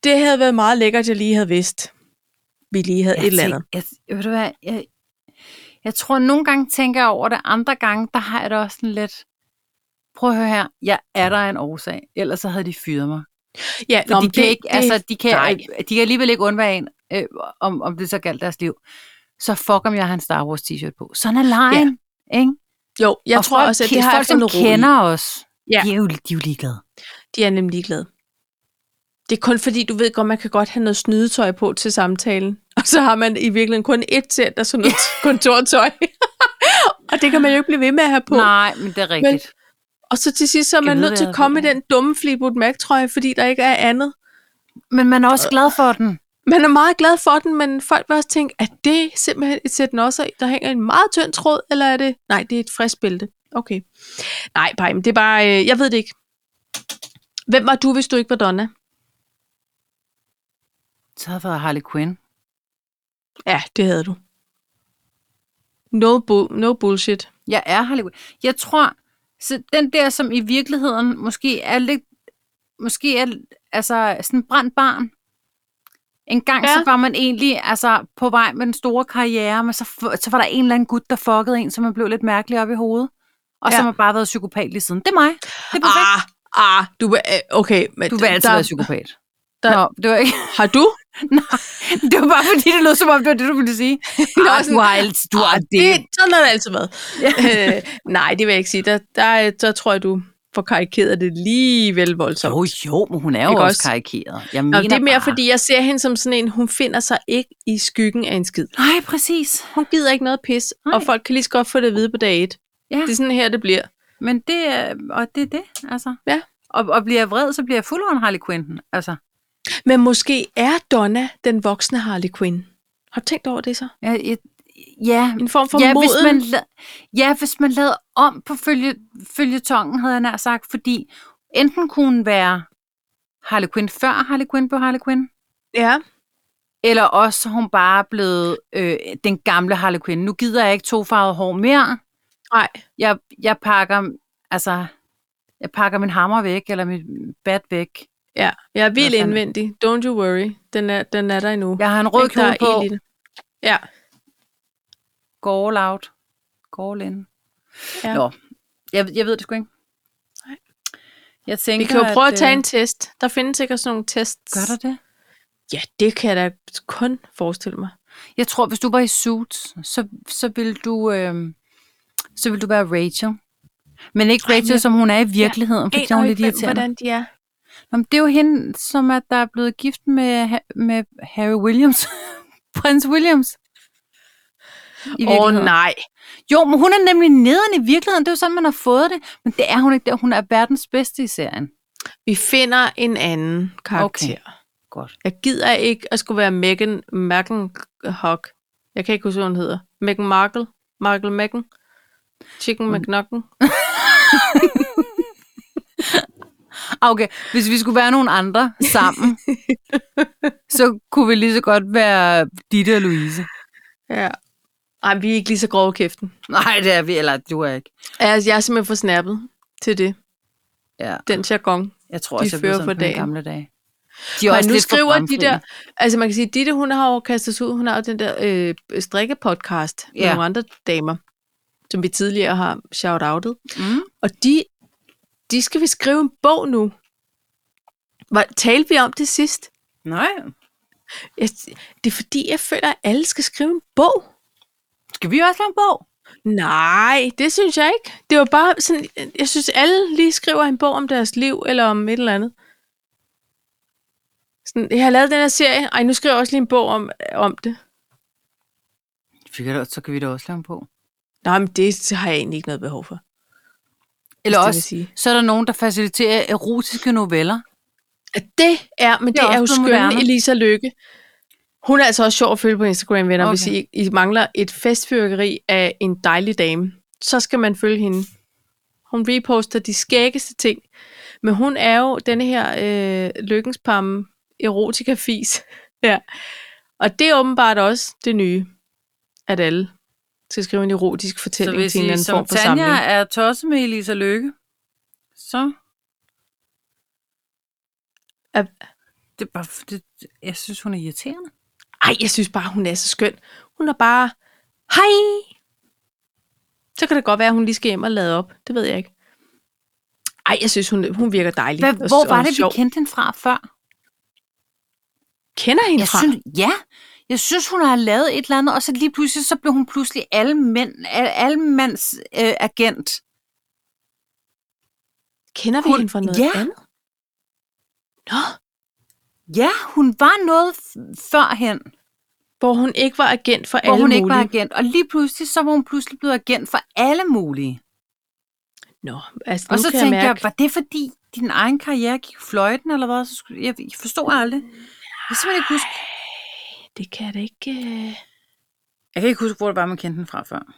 S1: det havde været meget lækkert, jeg lige havde vidst. Vi lige havde
S2: Jeg
S1: et eller
S2: tænk-
S1: andet.
S2: Jeg, ved du hvad, jeg, jeg tror, nogle gange tænker jeg over det, andre gange, der har jeg det også sådan lidt, prøv at høre her, jeg er der af en årsag, ellers så havde de fyret mig.
S1: Ja,
S2: For Nå, de,
S1: men
S2: kan det, ikke, altså, de, kan,
S1: nej.
S2: øh, de kan alligevel ikke undvære en, øh, om, om det så galt deres liv. Så fuck, om jeg har en Star Wars t-shirt på. Sådan er lejen, ja. ikke?
S1: jo, jeg
S2: og
S1: tror
S2: folk,
S1: også, at det har
S2: folk,
S1: jeg fundet
S2: som
S1: ro i.
S2: kender os,
S1: Ja.
S2: de, er jo, de er jo ligeglade.
S1: De er nemlig ligeglade. Det er kun fordi, du ved godt, man kan godt have noget snydetøj på til samtalen. Og så har man i virkeligheden kun et sæt af sådan noget kontortøj. og det kan man jo ikke blive ved med at have på.
S2: Nej, men det er rigtigt.
S1: Og så til sidst, så er
S2: Skal
S1: man
S2: vide,
S1: nødt
S2: hvad
S1: til
S2: jeg
S1: at
S2: har
S1: komme i
S2: på, ja.
S1: den dumme Fleetwood Mac-trøje, fordi der ikke er andet.
S2: Men, men man er også glad for den.
S1: Man er meget glad for den, men folk vil også tænke, at det simpelthen et sæt også, der hænger en meget tynd tråd, eller er det, nej, det er et frisk bælte. Okay. Nej, Paj, men det er bare, øh, jeg ved det ikke. Hvem var du, hvis du ikke var Donna?
S2: Så har jeg været Harley Quinn.
S1: Ja, det havde du. No, bu- no bullshit.
S2: Jeg er Harley Quinn. Jeg tror, så den der, som i virkeligheden måske er lidt, måske er altså, sådan en brændt barn. En gang ja.
S1: Ja.
S2: så var man egentlig altså, på vej med den store karriere, men så, f- så var der en eller anden gut, der fuckede en, så man blev lidt mærkelig op i hovedet. Og ja.
S1: Ja.
S2: så har man bare været psykopat lige siden. Det er mig. Det er perfekt.
S1: Ah, ah, du vil, øh, okay. Men
S2: Du vil altid
S1: der,
S2: være psykopat.
S1: der-
S2: Nå, det var ikke...
S1: Har du?
S2: Nej, det var bare fordi, det lød som om, det var det, du ville sige.
S1: Nå,
S2: Ej,
S1: sådan-
S2: du har altid, du har Ah, det.
S1: det sådan har det altid været. øh, nej, det vil jeg ikke sige. Der, der, øh, der tror jeg, du får karikeret det lige vel voldsomt.
S2: Jo, jo, men hun er jo
S1: Ikke
S2: også,
S1: også?
S2: karikeret. Jeg mener
S1: Nå, det er mere,
S2: bare...
S1: fordi jeg ser hende som sådan en, hun finder sig ikke i skyggen af en skid.
S2: Nej, præcis.
S1: Hun gider ikke noget pis,
S2: Nej.
S1: og folk kan lige så godt få det at vide på dag et.
S2: Ja.
S1: Det er sådan her, det bliver.
S2: Men det er... Og det er det, altså.
S1: Ja.
S2: Og, og bliver jeg vred, så bliver jeg fuld on Harley Quinn. Altså,
S1: Men måske er Donna den voksne Harley Quinn. Har du tænkt over det så?
S2: jeg, jeg, ja,
S1: En form for
S2: ja,
S1: moden?
S2: hvis man la- ja, hvis man lavede om på følge, følgetongen, havde jeg nær sagt, fordi enten kunne hun være Harley Quinn før Harley Quinn blev Harley Quinn,
S1: Ja.
S2: Eller også hun bare er blevet øh, den gamle Harley Quinn. Nu gider jeg ikke tofarvet hår mere.
S1: Nej.
S2: Jeg, jeg pakker, altså, jeg pakker min hammer væk, eller min bat væk.
S1: Ja, jeg er vild
S2: Hvad fanden?
S1: indvendig. Don't you worry. Den er, den er der endnu.
S2: Jeg har en
S1: Den
S2: rød
S1: klarer
S2: kjole
S1: ild i
S2: på.
S1: det. Ja,
S2: Go all out. Go all in.
S1: Ja.
S2: Nå, jeg, jeg ved det sgu ikke.
S1: Nej.
S2: Jeg tænker,
S1: vi kan jo prøve at tage
S2: øh,
S1: en test. Der findes sikkert sådan nogle tests.
S2: Gør der det?
S1: Ja, det kan jeg da kun forestille mig.
S2: Jeg tror, hvis du var i Suits, så, så ville du, øh, så ville du være Rachel. Men ikke
S1: Ej, men
S2: Rachel,
S1: jeg-
S2: som hun er i virkeligheden, fordi hun er lidt irriterende.
S1: hvordan de er.
S2: Nå, men det er jo hende, som er, der er blevet gift med, Ha- med Harry Williams. Prins Williams. I
S1: Åh oh,
S2: virkeligheden.
S1: nej.
S2: Jo, men hun er nemlig nederen i virkeligheden. Det er jo sådan, man har fået det. Men det er hun ikke der. Hun er verdens bedste i serien.
S1: Vi finder en anden karakter. Okay.
S2: Godt.
S1: Jeg gider ikke at skulle være Meghan Markenhock. Jeg kan ikke huske, hvad hun hedder. Meghan Markle. Markle Meghan. Chicken
S2: Mm.
S1: McNucken.
S2: Ah, Okay, hvis vi skulle være nogle andre sammen, så kunne vi lige så godt være Ditte og Louise.
S1: Ja. Ej, vi er ikke lige så grove i kæften.
S2: Nej, det er vi, eller du er ikke.
S1: Altså, jeg er simpelthen for snappet til det.
S2: Ja.
S1: Den jargon.
S2: Jeg tror
S1: De
S2: også, jeg blev
S1: fører
S2: sådan
S1: for
S2: på mine
S1: dagen.
S2: gamle dage. De
S1: Men nu
S2: lidt for
S1: skriver de der,
S2: bramfrie.
S1: altså man kan sige, Ditte, hun har jo kastet sig ud, hun har jo den der øh, strikkepodcast med
S2: Ja.
S1: nogle andre damer, som vi tidligere har shout-outet.
S2: Mm.
S1: Og de, de skal vi skrive en bog nu. Hvad, talte vi om det sidst?
S2: Nej.
S1: Jeg, det er fordi, jeg føler, at alle skal skrive en bog.
S2: Skal vi også lave en bog?
S1: Nej, det synes jeg ikke. Det var bare sådan, jeg synes, alle lige skriver en bog om deres liv, eller om et eller andet. Sådan, jeg har lavet den her serie. Ej, nu skriver jeg også lige en bog om, om det.
S2: Vi kan da- Så kan vi da også lave en på.
S1: Nej, men det har jeg egentlig ikke noget behov for.
S2: Eller
S1: det vil
S2: også,
S1: sige.
S2: så er der nogen, der faciliterer erotiske noveller.
S1: At det er, men
S2: Det er
S1: det, er jo
S2: også noget
S1: skønne
S2: moderne.
S1: Elisa Lykke. Hun er altså også sjov at følge på Instagram, venner. Okay. Hvis
S2: Okay.
S1: I, I mangler et festfyrkeri af en dejlig dame, så skal man følge hende. Hun reposter de skæggeste ting. Men hun er jo denne her øh, lykkenspamme erotika-fis. ja. Og det er åbenbart også det nye, at alle skal skrive en erotisk
S2: Så
S1: fortælling
S2: hvis
S1: til en eller
S2: I
S1: anden
S2: som
S1: form for
S2: Tanja
S1: samling.
S2: er tosset med Elisa Lykke, så...
S1: Er-
S2: Det er bare, det, jeg synes, hun er irriterende.
S1: Ej, jeg synes bare, hun er så skøn. Hun er bare, hej! Så kan det godt være, at hun lige skal hjem og lade op. Det ved jeg ikke. Ej, jeg synes, hun, hun virker dejlig.
S2: Hvad,
S1: og-
S2: hvor var
S1: og
S2: det,
S1: sjov.
S2: vi kendte hende fra før?
S1: kender hende
S2: Jeg
S1: fra?
S2: synes, ja, jeg synes, hun har lavet et eller andet, og så lige pludselig, så blev hun pludselig alle mænd, alle, alle mands øh, agent.
S1: Kender vi
S2: Hun-
S1: hende fra noget
S2: Ja.
S1: andet? Nå,
S2: Ja, hun var noget f- førhen,
S1: hvor hun ikke var agent for
S2: hvor
S1: alle
S2: hun
S1: mulige.
S2: ikke var agent, og lige pludselig, så var hun pludselig blevet agent for alle mulige.
S1: Nå, altså
S2: Og
S1: nu
S2: så
S1: kan
S2: tænkte
S1: jeg,
S2: jeg,
S1: mærke,
S2: var det fordi din egen karriere gik fløjten, eller hvad? Så skulle, jeg, jeg forstod aldrig. Jeg kan simpelthen ikke huske.
S1: det kan jeg da ikke... øh.
S2: Jeg kan ikke huske, hvor det var, man kendte den fra før.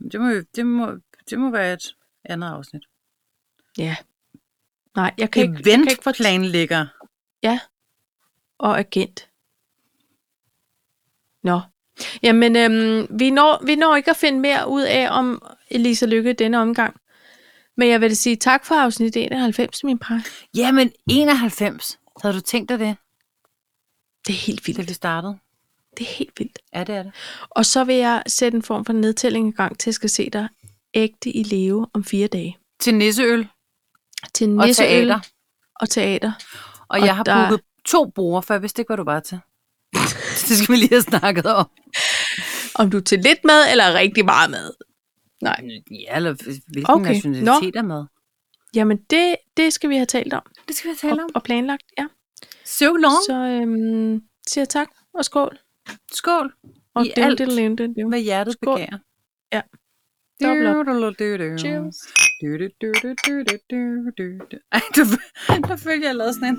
S2: Men Det må, jo- det må, det må være et andet afsnit.
S1: Ja. Nej, jeg kan ikke... jeg kan ikke fortæ-
S2: Eventplanlægger.
S1: og agent. Nå. Jamen, øhm, vi, når, vi når ikke at finde mere ud af om Elisa Lykke i denne omgang. Men jeg vil sige tak for afsnit 91, min par.
S2: Jamen, 91. Havde du tænkt dig det,
S1: Det er helt
S2: da
S1: vildt.
S2: vi startede?
S1: Det er helt vildt.
S2: Ja, det er det.
S1: Og så vil jeg sætte en form for nedtælling i gang til, at jeg skal se dig ægte i leve om fire dage.
S2: Til nisseøl
S1: Til
S2: og
S1: Nisseøl
S2: teater.
S1: Og teater.
S2: Og,
S1: Og
S2: jeg har
S1: der-
S2: booket to brugere, for jeg vidste ikke, hvad du var til. det skal vi lige have snakket om.
S1: Om du er til lidt med, eller rigtig meget med.
S2: Ja, eller hvilken okay.
S1: Okay,
S2: nationalitet er med.
S1: Jamen, det, det skal vi have talt om
S2: Det skal vi
S1: og,
S2: tale om.
S1: og planlagt. Ja.
S2: So long.
S1: Så øhm, siger jeg tak og skål.
S2: Skål.
S1: Og
S2: I
S1: det er jo
S2: alt,
S1: det, det, det, det.
S2: hvad hjertet
S1: Skål.
S2: begærer.
S1: Ja. Dobbelt op.
S2: Dobbelt
S1: Cheers.
S2: Ej, du, der følte jeg, jeg lavede sådan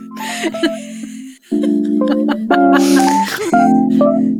S2: en.